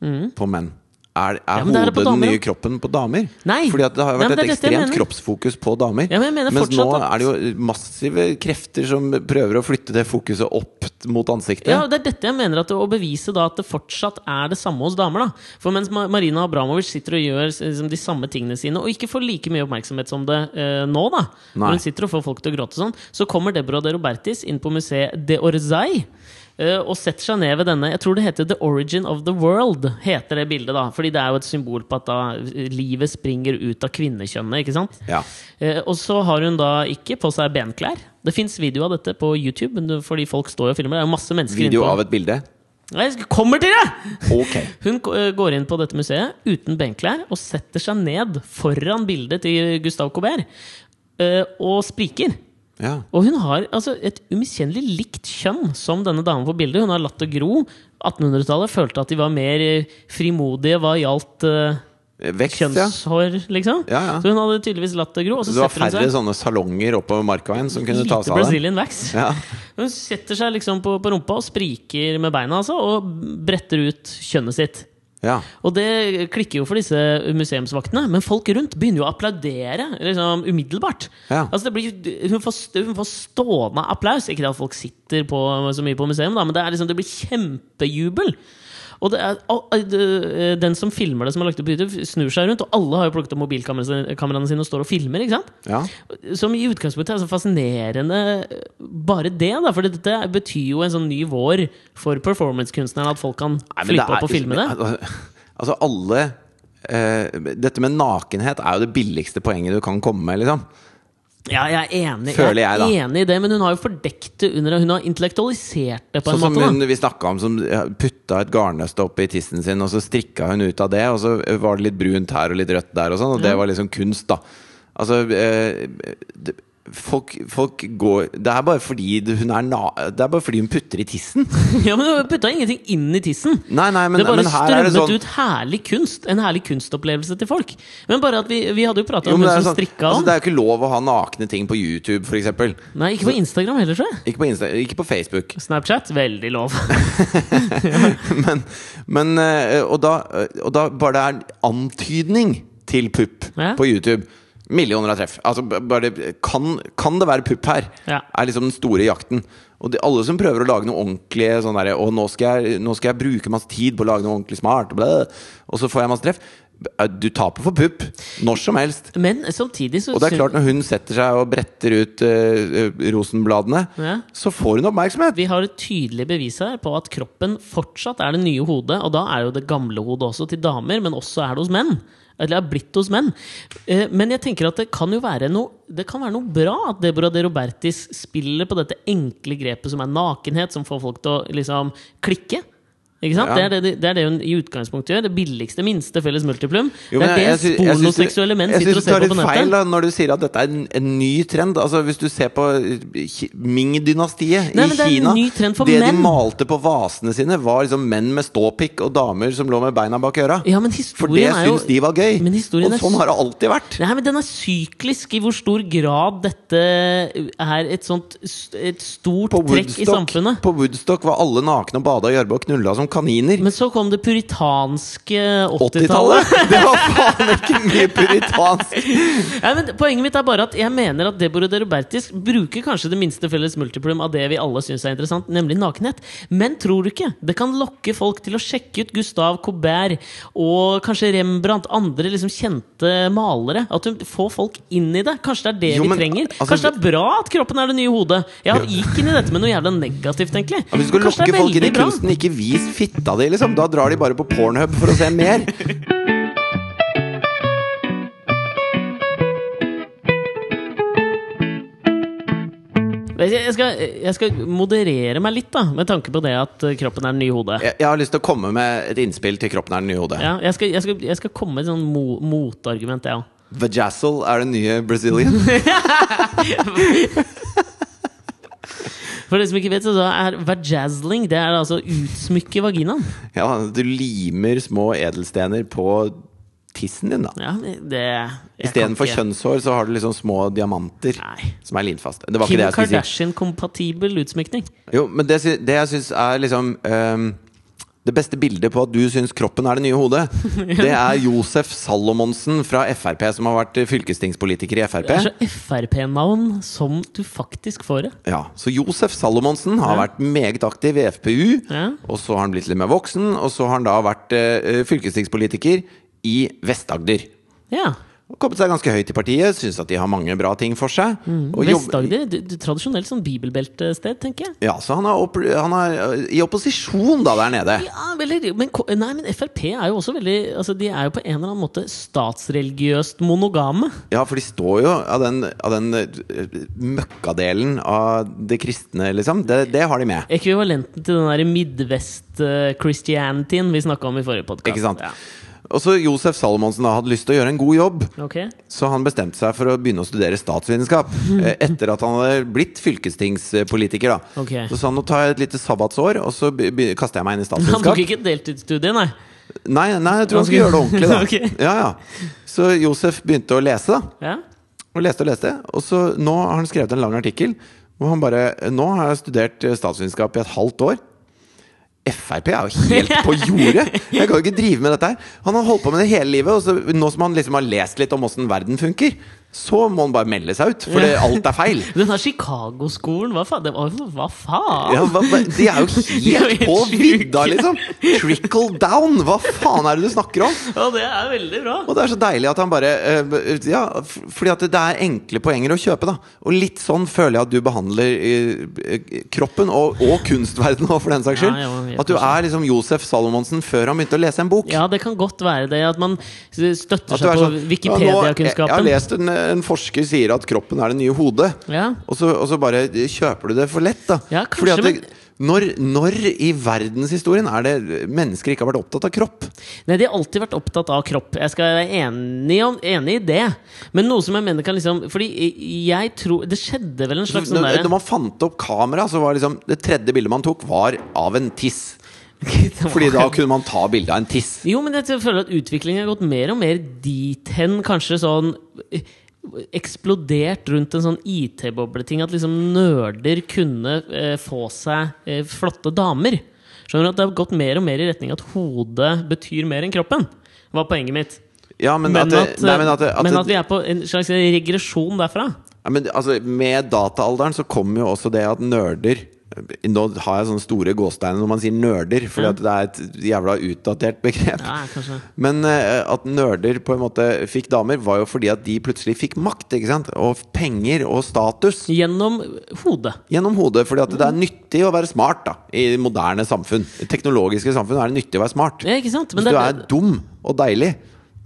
S1: på menn, er, er
S2: Mm. men det er det
S1: hodet
S2: på damer,
S1: den nye
S2: da.
S1: kroppen på damer?
S2: Nei.
S1: Fordi at det har
S2: Nei,
S1: vært et
S2: men det er dette jeg
S1: ekstremt
S2: mener.
S1: kroppsfokus på damer.
S2: Ja, men jeg mener
S1: Mens nå
S2: fortsatt at-
S1: er det jo massive krefter som prøver å flytte det fokuset opp mot ansiktet.
S2: Ja, og det er dette jeg mener at å bevise da at det fortsatt er det samme hos damer. da For mens Ma- Marina Abramovic sitter og gjør s- liksom, de samme tingene sine, og ikke får like mye oppmerksomhet som det eh, nå, da
S1: Nei.
S2: når hun sitter og får folk til å gråte og sånn, så kommer Deborah de Robertis inn på museet De Orzay. eh, Og setter seg ned ved denne Jeg tror det heter The Origin of the World. Heter det bildet da Fordi det er jo et symbol på at da eh, livet springer ut av kvinnekjønnet. Ikke sant?
S1: Ja.
S2: Eh, og så har hun da ikke på seg benklær. Det fins video av dette på YouTube, men du- fordi folk står jo og filmer. Det er jo masse mennesker
S1: Video
S2: innpå.
S1: av et bilde.
S2: Jeg kommer til det!
S1: Ok.
S2: Hun k- øh, går inn på dette museet uten benklær og setter seg ned foran bildet til Gustav Colbert øh, og spriker.
S1: Ja.
S2: Og hun har altså, et umiskjennelig likt kjønn som denne damen på bildet. Hun har latt det gro. 1800-tallet følte at de var mer øh, frimodige hva gjaldt øh,
S1: Vekst, ja.
S2: kjønnshår, liksom.
S1: Ja, ja.
S2: Så hun hadde tydeligvis latt det gro. Og
S1: Så
S2: så
S1: det var
S2: setter hun
S1: færre
S2: seg
S1: sånne salonger oppover Markveien som kunne ta
S2: Lite
S1: seg av det?
S2: Brazilian wax.
S1: Ja.
S2: Hun setter seg liksom på, på rumpa og spriker med beina altså, og bretter ut kjønnet sitt.
S1: ja.
S2: Og det klikker jo for disse museumsvaktene, men folk rundt begynner jo å applaudere liksom, umiddelbart.
S1: Ja.
S2: Altså, det blir, hun, får, st- hun får stående applaus. Ikke det at folk sitter på, så mye på museum, da, men det, er liksom, det blir kjempejubel. Og det er, og, eh, det- eh, den som filmer det, som har lagt det på YouTube, snur seg rundt, og alle har jo plukket opp mobilkameraene sine og står og filmer. ikke sant?
S1: ja.
S2: Som i utgangspunktet er så fascinerende eh, bare det, da. For dette betyr jo en sånn ny vår for performancekunstneren, at folk kan
S1: Nei, men det
S2: flippe
S1: er
S2: opp og
S1: liksom-
S2: filme det.
S1: Altså, alle eh, Dette med nakenhet er jo det billigste poenget du kan komme med, liksom.
S2: Ja, jeg er enig,
S1: Føler jeg,
S2: jeg
S1: da.
S2: er enig i det, men hun har jo fordekt det under Hun har intellektualisert det på en
S1: Sånn som
S2: måte.
S1: hun
S2: da.
S1: vi snakka om, som ja, putta et garnnøste opp i tissen sin, og så strikka hun ut av det, og så eh, var det litt brunt her og litt rødt der, og sånn, og det var liksom kunst, da. Altså eh, det, folk, folk går Det er bare fordi hun er na... Det er bare fordi hun putter i tissen.
S2: Ja, men Hun putta ingenting inn i tissen!
S1: Nei, nei, men,
S2: det bare
S1: men her er
S2: strømmet
S1: det sånn
S2: ut herlig kunst. En herlig kunstopplevelse til folk. Men bare at vi, vi hadde jo prata
S1: Jo,
S2: om
S1: men
S2: hun
S1: det, er
S2: som
S1: sånn,
S2: strikka
S1: altså,
S2: om.
S1: det er jo ikke lov å ha nakne ting på YouTube, f.eks.
S2: Nei, ikke på Instagram heller, tror jeg.
S1: Ikke på, Insta, ikke på Facebook.
S2: Snapchat veldig lov.
S1: Men, men eh, og, da, og da bare det er antydning til pupp
S2: Ja.
S1: på YouTube Millioner av treff. Altså, b- bare, det- kan, kan det være pupp her?
S2: Ja.
S1: Er liksom den store jakten. Og de, alle som prøver å lage noe ordentlig sånn derre Og nå skal, jeg, 'Nå skal jeg bruke masse tid på å lage noe ordentlig smart', blæ, og så får jeg masse treff. B- eh, Du taper for pupp når som helst.
S2: Men samtidig så
S1: Og det er
S2: syn-
S1: klart, når hun setter seg og bretter ut eh, eh, rosenbladene,
S2: Ja.
S1: så får hun oppmerksomhet.
S2: Vi har et tydelig bevis her på at kroppen fortsatt er det nye hodet. Og da er jo det gamle hodet også til damer, men også er det hos menn. Eller er blitt hos menn. Eh, Men jeg tenker at det kan jo være noe, det kan være noe bra at Deborah de Robertis spiller på dette enkle grepet som er nakenhet, som får folk til å liksom klikke. Ikke sant?
S1: Ja.
S2: Det, er det, det er det hun i utgangspunktet gjør. Det billigste, minste felles multiplum.
S1: Jo, men
S2: det er det
S1: jeg- jeg sy- jeg syns det-
S2: pornoseksuelle menn sitter og ser på
S1: Jeg syns du tar
S2: på
S1: litt feil da,
S2: nettet.
S1: når du sier at dette er en, en ny trend. Altså Hvis du ser på eh, Ki- Ming-dynastiet
S2: Nei,
S1: i
S2: men det er en
S1: Kina
S2: ny trend for
S1: Det
S2: menn.
S1: de malte på vasene sine, var liksom menn med ståpikk og damer som lå med beina bak øra.
S2: Ja, men
S1: For det
S2: historien er jo
S1: syns de var gøy.
S2: Men historien
S1: Og
S2: er-
S1: sånn har det alltid vært.
S2: Nei, men Den er syklisk i hvor stor grad dette er et sånt st- et stort
S1: På
S2: trekk i
S1: Woodstock,
S2: samfunnet.
S1: på Woodstock var alle nakne og bada i gjørme og knulla som kaniner.
S2: Men så kom det puritanske 80-tallet.
S1: 80-tallet! Det var faen ikke mye puritansk!
S2: Nei, men Poenget mitt er bare at jeg mener at Deborah de Robertis bruker kanskje det minste felles multiplum av det vi alle syns er interessant, nemlig nakenhet. Men tror du ikke det kan lokke folk til å sjekke ut Gustav Colbert og kanskje Rembrandt, andre liksom kjente malere? At hun får folk inn i det? Kanskje det er det
S1: Jo,
S2: vi
S1: men,
S2: trenger?
S1: altså-
S2: kanskje det er bra at kroppen er det nye hodet? Jeg gikk inn i dette med noe jævla negativt, egentlig.
S1: Hvis du skal
S2: Kanskje det
S1: lokke
S2: er
S1: folk inn i
S2: veldig bra.
S1: kunsten, ikke vis fitta di, liksom. Da drar de bare på Pornhub for å se mer.
S2: Jeg skal, jeg skal moderere meg litt, da, med tanke på det at kroppen er det nye hodet.
S1: Jeg, jeg har lyst til å komme med et innspill til kroppen er det nye hodet.
S2: Ja, jeg, skal, jeg, skal, jeg skal komme med et sånn mo motargument, jeg òg.
S1: Vajazzle er den nye Brazilian.
S2: For de som ikke vet, så er vajazzling Det er altså å utsmykke vaginaen.
S1: ja, du limer små edelstener på tissen din, da.
S2: Ja, det
S1: Istedenfor kjønnshår så har du liksom små diamanter
S2: Nei.
S1: som er limfaste. Det var
S2: Kim
S1: ikke det jeg skulle si.
S2: Kardashian-kompatibel utsmykning.
S1: Jo, men det, sy- det jeg syns er liksom ehm, det beste bildet på at du syns kroppen er det nye hodet, det er Josef Salomonsen fra Frp, som har vært fylkestingspolitiker i Frp.
S2: Det er så Frp-navn som du faktisk får det.
S1: Ja, så Josef Salomonsen har
S2: Ja.
S1: vært meget aktiv i FPU,
S2: Ja.
S1: og så har han blitt litt mer voksen, og så har han da vært eh, fylkestingspolitiker i eh, Vest-Agder.
S2: Ja.
S1: Og kommet seg ganske høyt i partiet, syns at de har mange bra ting for seg. og jobb-
S2: Mm. Vest-Agder, du- du- tradisjonelt sånn bibelbeltested, tenker jeg.
S1: Ja, så han er, opp, han er øh, i opposisjon da der nede.
S2: Ja, veldig, men, K- nei, men Frp er jo også veldig altså, De er jo på en eller annen måte statsreligiøst monogame.
S1: Ja, for de står jo av den, av den øh, møkkadelen av det kristne, liksom. Det, det har de med.
S2: Ekvivalenten til den der Midvest-christianityen vi snakka om i forrige podkast.
S1: Ikke sant?
S2: Ja.
S1: Og så Josef Salomonsen da hadde lyst til å gjøre en god jobb.
S2: Ok.
S1: Så han bestemte seg for å begynne å studere statsvitenskap. eh, Etter at han hadde blitt fylkestingspolitiker. da
S2: Ok.
S1: Så sa han nå tar jeg et lite sabbatsår, og så be- be- kaster jeg meg inn i
S2: Han tok
S1: statsvitenskap.
S2: ikke et deltidsstudie, nei.
S1: Nei, nei, jeg tror han skulle gjøre det ordentlig, da.
S2: Ok.
S1: ja, ja. Så Josef begynte å lese, da.
S2: Ja.
S1: Og leste og leste. Og så nå har han skrevet en lang artikkel hvor han bare Nå har jeg studert eh, statsvitenskap i et halvt år. Frp er jo helt på jordet! Jeg kan jo ikke drive med dette her. Han har holdt på med det hele livet, og så, nå som han liksom har lest litt om åssen verden funker, så må han bare melde seg ut, for det, alt er feil.
S2: Den her Chicago-skolen, hva faen? Det var, hva faen?
S1: Ja, hva, hva, de er jo
S2: De er jo
S1: helt
S2: helt
S1: på vidda,
S2: sjuke.
S1: liksom! Trickle down! Hva faen er det du snakker om?
S2: Ja, det er veldig bra.
S1: Og det er så deilig at han bare eh, b- Ja, f- fordi at det er enkle poenger å kjøpe, da. Og litt sånn føler jeg at du behandler eh, eh, kroppen, og, og kunstverdenen òg, for den saks skyld.
S2: Ja, ja, ja,
S1: At du er liksom Josef Salomonsen før han begynte å lese en bok.
S2: Ja, det kan godt være det. At man
S1: At du
S2: støtter seg
S1: er
S2: på
S1: sånn, ja, nå- jeg, jeg har
S2: Wikipedia-kunnskapen.
S1: lest en, en forsker sier at kroppen er det nye hodet.
S2: Ja.
S1: Og, så, og så bare kjøper du det for lett, da.
S2: Ja, kanskje,
S1: Fordi at det,
S2: men-
S1: når, når i verdenshistorien er det mennesker ikke har vært opptatt av kropp?
S2: Nei, de har alltid vært opptatt av kropp. Jeg skal være enig, om, enig i det. Men noe som jeg mener kan liksom Fordi jeg tror Det skjedde vel en slags sånn
S1: Når,
S2: derre
S1: når man fant opp kamera, så var liksom det tredje bildet man tok, var av en tiss.
S2: Det var-
S1: Fordi da kunne man ta bilde av en tiss.
S2: Jo, men jeg føler at utviklingen har gått mer og mer dit hen, kanskje sånn eh, Eksplodert rundt en sånn IT-bobleting. At liksom nerder kunne eh, få seg eh, flotte damer. Skjønner du at det har gått mer og mer i retning at hodet betyr mer enn kroppen? Var poenget mitt.
S1: Ja, men,
S2: Men
S1: at, det-
S2: at,
S1: nei, men, at, det- at,
S2: men at
S1: det-
S2: vi er på en slags regresjon derfra.
S1: ja, men altså, Med dataalderen så kommer jo også det at nerder Nå har jeg sånne store gåsteiner når man sier nerder, fordi
S2: Ja.
S1: at det er et jævla utdatert begrep.
S2: Ja, kanskje
S1: Men eh, at nerder på en måte fikk damer, var jo fordi at de plutselig fikk makt ikke sant? og penger og status
S2: Gjennom hodet.
S1: gjennom hodet. Fordi at det er nyttig å være smart da i moderne samfunn. I teknologiske samfunn er det nyttig å være smart.
S2: Ja, ikke sant? Men
S1: Hvis
S2: det
S1: du
S2: er-
S1: er dum og deilig,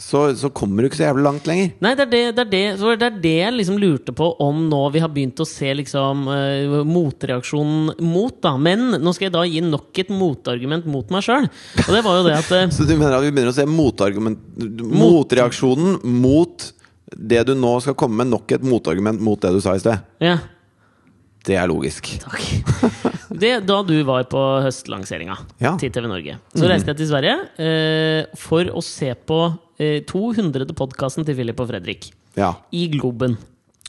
S1: så, så kommer du ikke så jævlig langt lenger.
S2: Nei, det er det, det, er det, så det er det jeg liksom lurte på om nå vi har begynt å se liksom, eh, motreaksjonen mot. da Men nå skal jeg da gi nok et motargument mot meg sjøl. Og det var jo det at eh,
S1: Så du mener at vi begynner å se motargument, motreaksjonen mot det du nå skal komme med, nok et motargument mot det du sa i sted?
S2: Ja,
S1: Det er logisk.
S2: takk. Det, da du var på høstlanseringa
S1: Ja.
S2: til TV Norge, så reiste jeg til Sverige eh, for å se på eh, 200. podkasten til Philip og Fredrik.
S1: Ja.
S2: i Globen.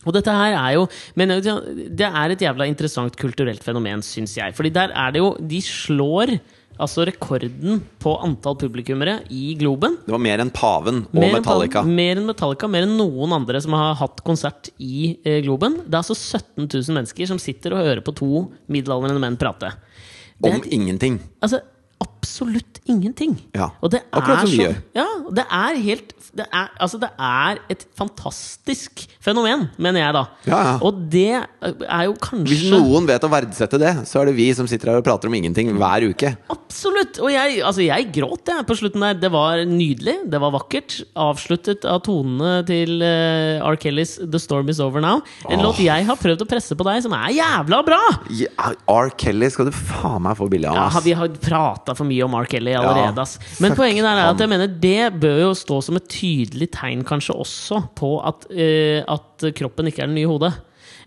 S2: Og dette her er jo Men det er et jævla interessant kulturelt fenomen, syns jeg. Fordi der er det jo De slår altså rekorden på antall publikummere i Globen.
S1: Det var mer enn paven og
S2: Mer enn Mm.
S1: Metallica.
S2: Pal- mer enn Metallica, mer enn noen andre som har hatt konsert i eh, Globen. Det er altså 17 000 mennesker som sitter og hører på to middelaldrende menn prate. Det er
S1: Om ingenting.
S2: Altså, absolutt ingenting.
S1: Ja,
S2: Og det er
S1: akkurat som vi
S2: så-
S1: gjør.
S2: Ja, og det er helt det er, Altså, det er et fantastisk fenomen, mener jeg da.
S1: Ja, ja.
S2: Og det er jo kanskje
S1: Hvis noen vet å verdsette det, så er det vi som sitter her og prater om ingenting hver uke.
S2: Absolutt! Og jeg, altså jeg gråt jeg, på slutten der. Det var nydelig, det var vakkert. Avsluttet av tonene til eh, R. Kellys 'The Storm Is Over Now'. En
S1: Åh.
S2: låt jeg har prøvd å presse på deg, som er jævla bra!
S1: Ja, R. Kelly skal du faen meg få bilde
S2: Ja,
S1: av. ass.
S2: vi har prata for mye om Mark Kelly allerede. ass. Men
S1: fuck
S2: poenget der er
S1: han.
S2: at jeg mener det bør jo stå som et tydelig tegn kanskje også på at, eh, at kroppen ikke er det nye hodet.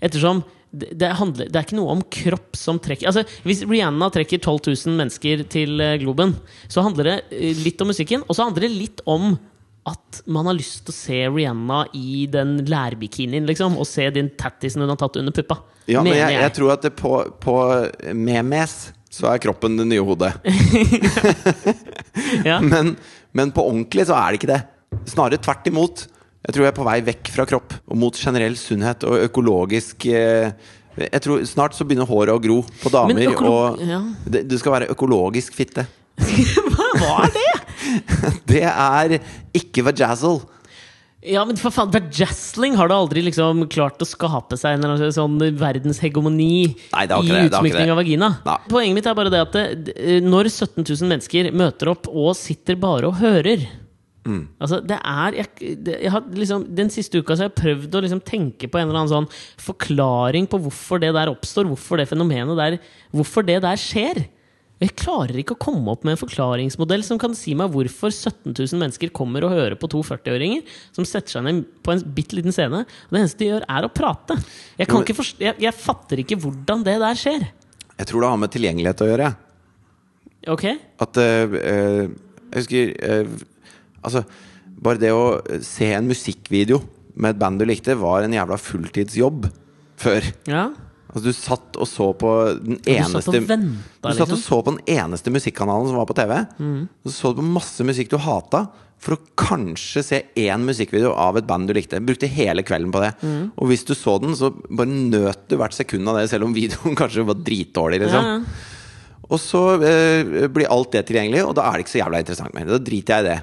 S2: Ettersom det, det, handler, det er ikke noe om kropp som trekker Altså, Hvis Rihanna trekker 12 000 mennesker til eh, Globen, så handler det eh, litt om musikken, og så handler det litt om at man har lyst til å se Rihanna i den lærbikinien, liksom. Og se den tattisen hun har tatt under puppa.
S1: Ja, men
S2: mener
S1: jeg, jeg tror at det på, på memes så er kroppen det nye hodet.
S2: Ja.
S1: Men, men på ordentlig så er det ikke det. Snarere tvert imot. Jeg tror jeg er på vei vekk fra kropp og mot generell sunnhet og økologisk eh, jeg tror Snart så begynner håret å gro på damer,
S2: Men økolo-
S1: og
S2: ja.
S1: det, det skal være økologisk fitte.
S2: Hva var det?!
S1: Det er ikke vajazzle.
S2: Ja, men for faen, Bert Jasling har da aldri liksom klart å skape seg en eller annen sånn verdenshegemoni
S1: Nei, det har ikke det,
S2: i
S1: det har ikke
S2: utsmykning
S1: det.
S2: av vagina.
S1: Nei.
S2: Poenget mitt er bare det at det, d- når 17 000 mennesker møter opp og sitter bare og hører
S1: Mm.
S2: Altså, det er jeg, det, jeg har liksom, Den siste uka så har jeg prøvd å liksom tenke på en eller annen sånn forklaring på hvorfor det der oppstår, hvorfor det fenomenet der Hvorfor det der skjer. Jeg klarer ikke å komme opp med en forklaringsmodell som kan si meg hvorfor 17 000 mennesker kommer og hører på to 40-åringer som setter seg ned på en bitte liten scene. Og det eneste de gjør, er å prate. Jeg, kan
S1: men-
S2: ikke forst- jeg, jeg fatter ikke hvordan det der skjer.
S1: Jeg tror det har med tilgjengelighet å gjøre. jeg.
S2: Ok?
S1: At eh, eh, Jeg husker eh, Altså, bare det å se en musikkvideo med et band du likte, var en jævla fulltidsjobb før.
S2: Ja.
S1: Altså, du satt og så på den
S2: Du
S1: eneste
S2: satt og venta,
S1: Du satt og
S2: liksom. Mm.
S1: så på den eneste musikkanalen som var på TV. Og så så du på masse musikk du hata, for å kanskje se én musikkvideo av et band du likte. Brukte hele kvelden på det.
S2: Mm.
S1: Og hvis du så den, så bare nøt du hvert sekund av det, selv om videoen kanskje var dritdårlig.
S2: Ja,
S1: Liksom.
S2: ja.
S1: Og så eh, blir alt det tilgjengelig, og da er det ikke så jævla interessant mer. Da driter jeg i det.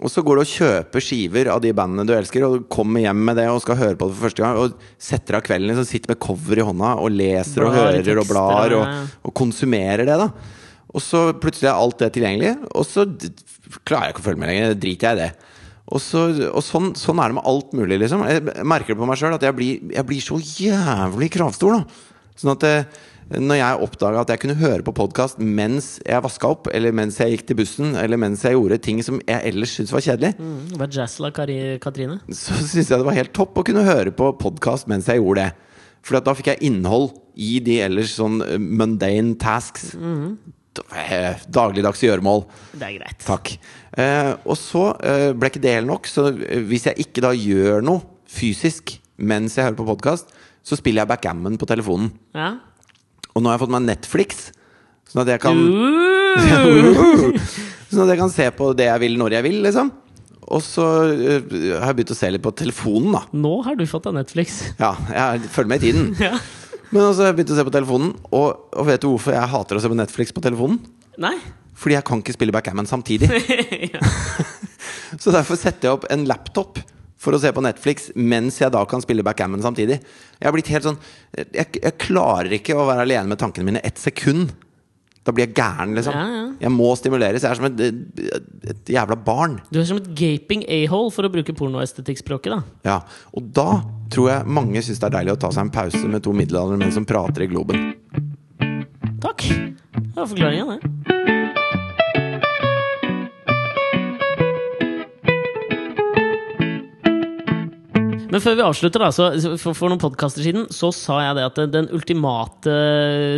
S1: Og så går du og kjøper skiver av de bandene du elsker, og kommer hjem med det og skal høre på det for første gang, og setter av kvelden liksom, sitter med cover i hånda og leser og
S2: Blar i
S1: hører og
S2: tekster,
S1: blar,
S2: ja,
S1: og,
S2: ja.
S1: og konsumerer det, da. Og så plutselig er alt det tilgjengelig, og så d- klarer jeg ikke å følge med lenger. Driter jeg i det. Og, så, og sånn, sånn er det med alt mulig, liksom. Jeg merker det på meg sjøl at jeg blir, jeg blir så jævlig kravstor, da. Sånn at eh, når jeg oppdaga at jeg kunne høre på podkast mens jeg vaska opp, eller mens jeg gikk til bussen, eller mens jeg gjorde ting som jeg ellers syntes var kjedelig,
S2: Mm, det var Jasla Kari Katrine.
S1: så syntes jeg det var helt topp å kunne høre på podkast mens jeg gjorde det. For da fikk jeg innhold i de ellers sånn eh, mundane tasks. Da- eh, Dagligdagse gjøremål.
S2: Det er greit.
S1: Takk. Eh, og så eh, ble ikke det helt nok, så eh, hvis jeg ikke da gjør noe fysisk mens jeg hører på podkast, så spiller jeg backgammon på telefonen.
S2: Ja.
S1: Og nå har jeg fått meg Netflix, sånn at jeg kan
S2: Mm.
S1: Sånn at jeg kan se på det jeg vil når jeg vil, liksom. Og så eh, har jeg begynt å se litt på telefonen, da.
S2: Nå har du fått deg Netflix.
S1: Ja, jeg følger med i tiden.
S2: Ja.
S1: Men også har jeg begynt å se på telefonen, og, og vet du hvorfor jeg hater å se på Netflix på telefonen?
S2: Nei?
S1: Fordi jeg kan ikke spille backgammon samtidig. Så derfor setter jeg opp en laptop for å se på Netflix mens jeg da kan spille backgammon samtidig. Jeg har blitt helt sånn jeg, jeg klarer ikke å være alene med tankene mine ett sekund. Da blir jeg gæren, liksom.
S2: Ja, ja.
S1: Jeg må stimuleres. Jeg er som et, et jævla barn.
S2: Du er som et gaping a-hole, for å bruke pornoestetikkspråket, da.
S1: Ja, Og da tror jeg mange syns det er deilig å ta seg en pause med to middelaldrende menn som prater i globen.
S2: Takk. Det var forklaringa, det. Men før vi avslutter, da, så så for, for noen podkaster siden så sa jeg det at den- den ultimate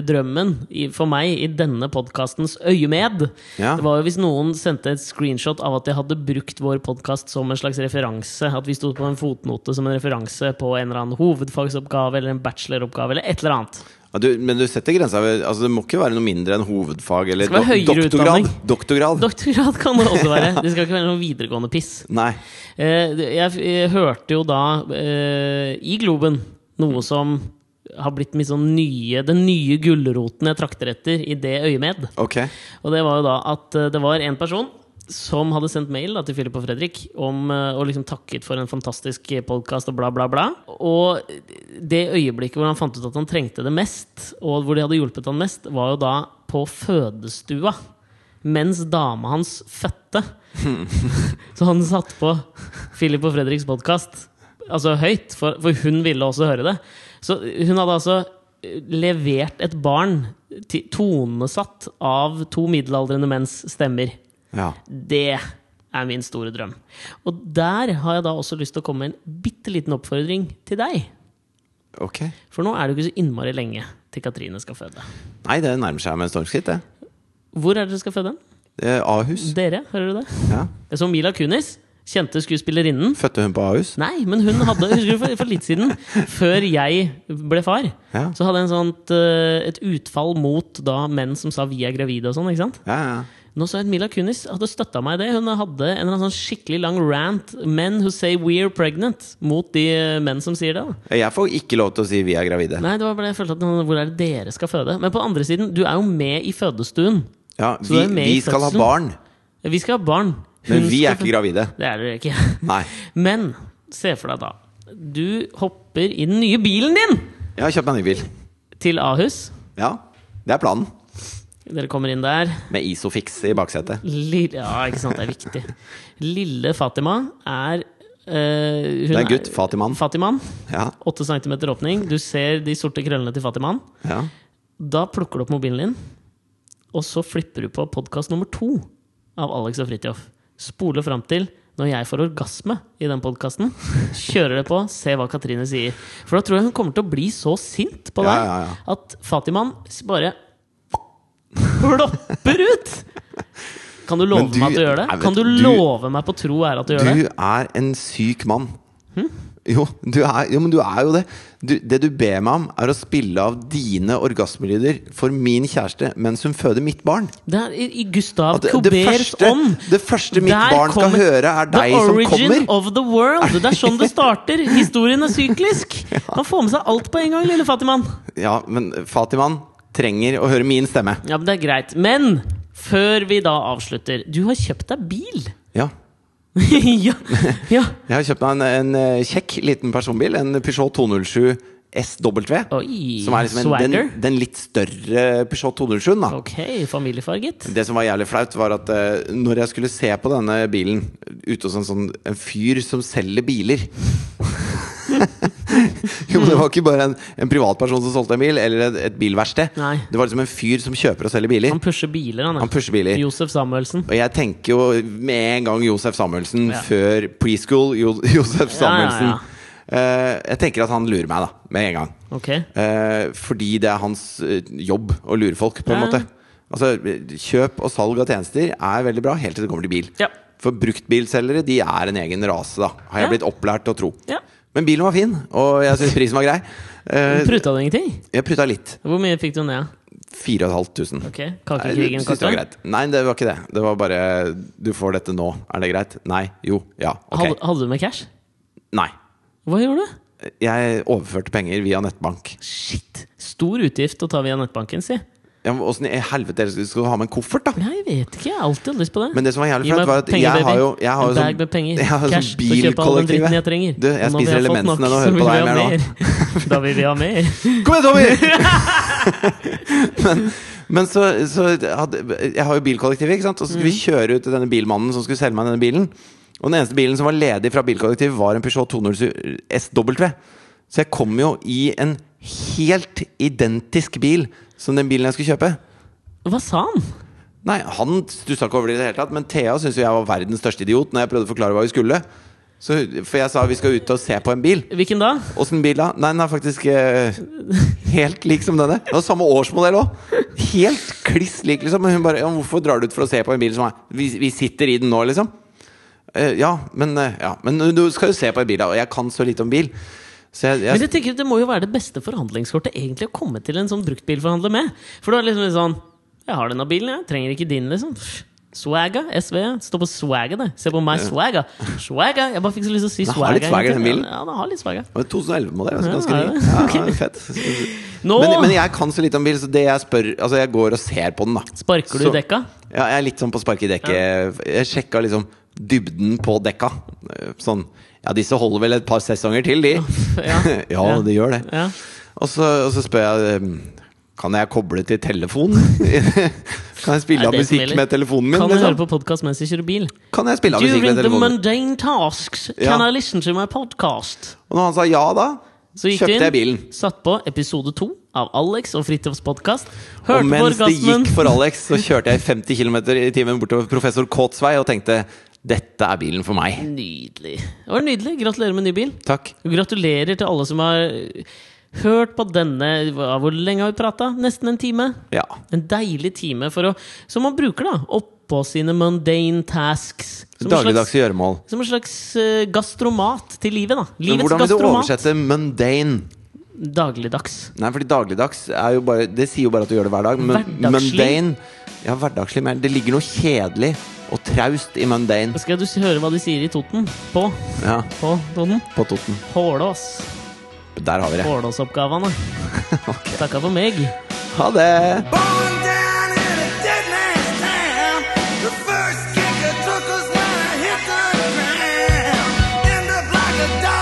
S2: drømmen i, for meg i denne podkastens øyemed,
S1: Ja.
S2: det var jo hvis noen sendte et screenshot av at de hadde brukt vår podkast som en slags referanse. At vi sto på en fotnote som en referanse på en eller annen hovedfagsoppgave eller en bacheloroppgave eller et eller annet.
S1: Ja, du, men du setter grensa ved altså, Det må ikke være noe mindre enn hovedfag eller
S2: Det skal være
S1: dok-
S2: høyere
S1: doktorgrad.
S2: utdanning.
S1: doktorgrad.
S2: Doktorgrad kan det også være. Det skal ikke være noe videregående piss.
S1: Nei.
S2: Eh, det- Jeg, f- jeg hørte jo da eh, i Globen noe som har blitt min sånn nye, den nye gulroten jeg trakter etter i det øyemed.
S1: Ok.
S2: Og det var jo da at eh, det var en person som hadde sendt mail da, til Philip og Fredrik om, eh, og liksom takket for en fantastisk podkast og bla, bla, bla. Og det øyeblikket hvor han fant ut at han trengte det mest, og hvor de hadde hjulpet han mest, var jo da på fødestua. Mens dama hans fødte. Så han satt på Philip og Fredriks podkast altså høyt, for, for hun ville også høre det. Så hun hadde altså eh, levert et barn ti- tonesatt av to middelaldrende menns stemmer.
S1: Ja.
S2: Det er min store drøm. Og der har jeg da også lyst til å komme med en bitte liten oppfordring til deg.
S1: Ok.
S2: For nå er det jo ikke så innmari lenge til Katrine skal føde.
S1: Nei, det nærmer seg med en stormskritt, det.
S2: Hvor er det dere skal føde? den?
S1: Eh, Ahus.
S2: Dere, hører du det?
S1: Ja.
S2: Det er som Mila Kunis, kjente skuespillerinnen,
S1: Fødte hun på Ahus?
S2: Nei, men hun hadde Husker du for, for litt siden, før jeg ble far,
S1: Ja.
S2: så hadde jeg en sånt, eh, et utfall mot da menn som sa 'vi er gravide' og sånn. ikke sant?
S1: Ja, ja.
S2: Nå så jeg at Mila Kunis hadde støtta meg i det. Hun hadde en eller annen sånn skikkelig lang rant 'men who say we're pregnant' mot de eh, menn som sier det. da
S1: Jeg får ikke lov til å si vi er gravide.
S2: Nei, det var bare jeg følte at noen- Hvor er det dere skal føde? Men på andre siden, du er jo med i fødestuen.
S1: Ja,
S2: Så
S1: vi,
S2: det er med i
S1: vi skal ha
S2: fødselen?
S1: barn.
S2: Vi skal ha barn.
S1: Men
S2: Hun
S1: vi
S2: skal
S1: er ikke gravide.
S2: Det er dere ikke.
S1: Nei.
S2: Men se for deg, da. Du hopper i den nye bilen din
S1: Jeg har kjøpt meg en ny bil.
S2: til Ahus.
S1: Ja, det er planen.
S2: Dere kommer inn der.
S1: Med Isofix i baksetet.
S2: Lille, ja, ikke sant, det er viktig. Lille Fatima er eh, hun
S1: Det er en gutt, Fatiman.
S2: Fatiman.
S1: Ja,
S2: 8 cm åpning. Du ser de sorte krøllene til Fatiman.
S1: ja.
S2: Da plukker du opp mobilen din, og så flipper du på podkast nummer to av Alex og Fridtjof. Spole fram til når jeg får orgasme i den podkasten. Kjører det på, se hva Katrine sier. For da tror jeg hun kommer til å bli så sint på deg
S1: Ja, ja, ja.
S2: at Fatiman bare plopper ut! Kan du love
S1: Men du-
S2: meg at du gjør det?
S1: Nei, vet
S2: Kan du,
S1: du-
S2: love meg på tro og ære at du, gjør det? Hm?
S1: Du er en syk mann. Jo, du er, jo, men du er jo det. Du, det du ber meg om, er å spille av dine orgasmelyder for min kjæreste mens hun føder mitt barn.
S2: Det er i, i Gustav
S1: At det, det,
S2: Couberts
S1: første,
S2: ånd!
S1: det første mitt
S2: Der
S1: barn skal
S2: kommer
S1: høre, er deg
S2: the
S1: som
S2: origin
S1: kommer.
S2: of the world. Det er sånn det starter. Historien er syklisk. Man får med seg alt på en gang, lille Fatiman.
S1: Ja, men Fatiman trenger å høre min stemme.
S2: Ja, men det er greit. Men før vi da avslutter Du har kjøpt deg bil.
S1: Ja.
S2: ja, ja.
S1: Jeg har kjøpt meg en, en eh, kjekk liten personbil. En Peugeot 207 SW.
S2: Oi.
S1: Som er liksom en, den,
S2: swagger.
S1: den litt større Peugeot 207, da.
S2: Ok, familiefarget.
S1: Det som var jævlig flaut, var at eh, når jeg skulle se på denne bilen ute hos en sånn en fyr som selger biler Jo, men det var ikke bare en, en privatperson som solgte en bil, eller et, et bilverksted.
S2: Nei.
S1: Det var liksom en fyr som kjøper og selger biler.
S2: Han pusher biler, han. er.
S1: Han pusher biler.
S2: Josef Samuelsen.
S1: Og jeg tenker jo med en gang Josef Samuelsen
S2: Ja.
S1: før preschool jo, Josef
S2: Ja, ja,
S1: Samuelsen.
S2: ja.
S1: Eh, jeg tenker at han lurer meg, da. Med en gang.
S2: Ok.
S1: Eh, fordi det er hans eh, jobb å lure folk, på en
S2: Ja.
S1: måte. Altså, kjøp og salg av tjenester er veldig bra, helt til det kommer til bil.
S2: Ja.
S1: For bruktbilselgere de er en egen rase, da. Har jeg
S2: Ja.
S1: blitt opplært til å tro.
S2: ja.
S1: Men bilen var fin, og jeg syns prisen var grei. Eh,
S2: Pruta du ingenting?
S1: jeg prutta litt.
S2: Hvor mye fikk du ned?
S1: 4500.
S2: Ok,
S1: Nei, du
S2: Kakekrigen
S1: synes det var
S2: kosta?
S1: greit. Nei, det var ikke det. Det var bare Du får dette nå. Er det greit? Nei. Jo. Ja.
S2: Hadde,
S1: Ok.
S2: hadde du med cash?
S1: Nei.
S2: Hva gjorde du?
S1: Jeg overførte penger via nettbank.
S2: Shit! Stor utgift å ta via nettbanken, si.
S1: Ja, men Åssen i helvete skal du ha med en koffert, da?
S2: Jeg vet ikke. Jeg har alltid hatt lyst på det.
S1: Men det som var jævlig
S2: Gi meg
S1: flaut, var at
S2: penger,
S1: jeg
S2: baby.
S1: har jo jeg har jo
S2: En
S1: sånn-
S2: bag med penger.
S1: Jeg har jo
S2: Cash
S1: sånn
S2: til å kjøpe all den dritten jeg trenger.
S1: bilkollektivet. Du, jeg
S2: Og når vi
S1: spiser
S2: har fått nok,
S1: elementene nå.
S2: så
S1: Hører
S2: vil
S1: på
S2: vi
S1: deg
S2: ha
S1: mer nå.
S2: mer. da vil vi ha mer.
S1: Kom igjen, Tommy! men men så, så hadde, Jeg har jo bilkollektivet, ikke sant? Og så
S2: Mhm.
S1: skulle vi kjøre ut til denne bilmannen som skulle selge meg denne bilen. Og den eneste bilen som var ledig fra bilkollektivet, var en Peugeot 207 SW. Så jeg kom jo i en helt identisk bil som den bilen jeg skulle kjøpe.
S2: Hva sa han?
S1: Nei, han stussa ikke over det i det hele tatt, men Thea syntes jo jeg var verdens største idiot når jeg prøvde å forklare hva vi skulle. Så, for jeg sa vi skal ut og se på en bil.
S2: Hvilken da?
S1: Åssen bil da? Nei, den er faktisk eh, helt lik som denne. Det var samme årsmodell òg. Helt kliss lik, liksom. Men hun bare ja, 'Hvorfor drar du ut for å se på en bil som er Vi, vi sitter i den nå, liksom. Eh, ja, men, eh, ja, men du skal jo se på en bil, da. Og jeg kan så lite om bil. Så jeg, jeg
S2: Men jeg tenker at Det må jo være det beste forhandlingskortet egentlig å komme til en sånn bruktbilforhandler med. For da er det liksom litt sånn Jeg har denne bilen, jeg. Trenger ikke din, liksom. Swagga. SV. Stå på swagga, det. Se på meg, swagga. Swagga. Jeg bare fikk så lyst til å si
S1: Den
S2: swagga.
S1: har litt swagger,
S2: egentlig.
S1: den bilen.
S2: Ja, den har litt swagga.
S1: Det var en 2011-modell. altså,
S2: Ja,
S1: Ganske
S2: er det?
S1: ny. Ja, fett.
S2: Nå
S1: Men, men jeg kan så lite om bil, så det jeg spør Altså, jeg går og ser på den, da.
S2: sparker du
S1: så-
S2: i dekka.
S1: Ja, jeg er litt sånn på spark i dekket. Jeg sjekka liksom dybden på dekka. Sånn Ja, disse holder vel et par sesonger til, de.
S2: Ja.
S1: ja,
S2: Ja.
S1: de gjør det.
S2: Ja.
S1: Og så, og så spør jeg ehm, Kan jeg koble til telefonen? kan jeg
S2: Er
S1: spille av
S2: det som
S1: musikk
S2: gjelder?
S1: med telefonen min?
S2: Kan jeg høre
S1: Liksom?
S2: på podkast mens jeg kjører bil?
S1: Kan jeg spille av musikk
S2: During
S1: med
S2: the
S1: telefonen?
S2: mundane tasks, can
S1: Ja.
S2: I listen to my podcast?
S1: Og når han sa ja da,
S2: Så gikk
S1: kjøpte
S2: du
S1: jeg
S2: inn,
S1: bilen.
S2: satt på episode to av Alex og Fridtjofs podkast.
S1: Og
S2: Hørte på
S1: mens det
S2: orgasmen.
S1: gikk for Alex, så kjørte jeg 50 km i timen bortover Professor Kåts vei og tenkte dette er bilen for meg.
S2: Nydelig. Det var nydelig. Gratulerer med ny bil.
S1: Takk.
S2: Og gratulerer til alle som har hørt på denne hva- Hvor lenge har vi prata? Nesten en time.
S1: Ja.
S2: En deilig time for å, som man bruker da oppå sine mundane tasks. Som en slags,
S1: Dagligdagse gjøremål.
S2: som en slags eh, gastromat til livet, da.
S1: Men
S2: Livets
S1: hvordan vil du
S2: gastromat.
S1: oversette mundane?
S2: Dagligdags.
S1: Nei, fordi dagligdags er jo bare Det sier jo bare at du gjør det hver dag. Men
S2: Hverdagslig.
S1: mundane Ja, hverdagslig. Men det ligger noe kjedelig og traust i mundane.
S2: Skal du s- høre hva de sier i Toten? På,
S1: Ja,
S2: på Toten?
S1: på Toten.
S2: Hålås.
S1: Der har vi det.
S2: Hålåsoppgavene. Takka for meg.
S1: Ha det!
S3: Born down in a dead man's town. The first kicker took us down. to die.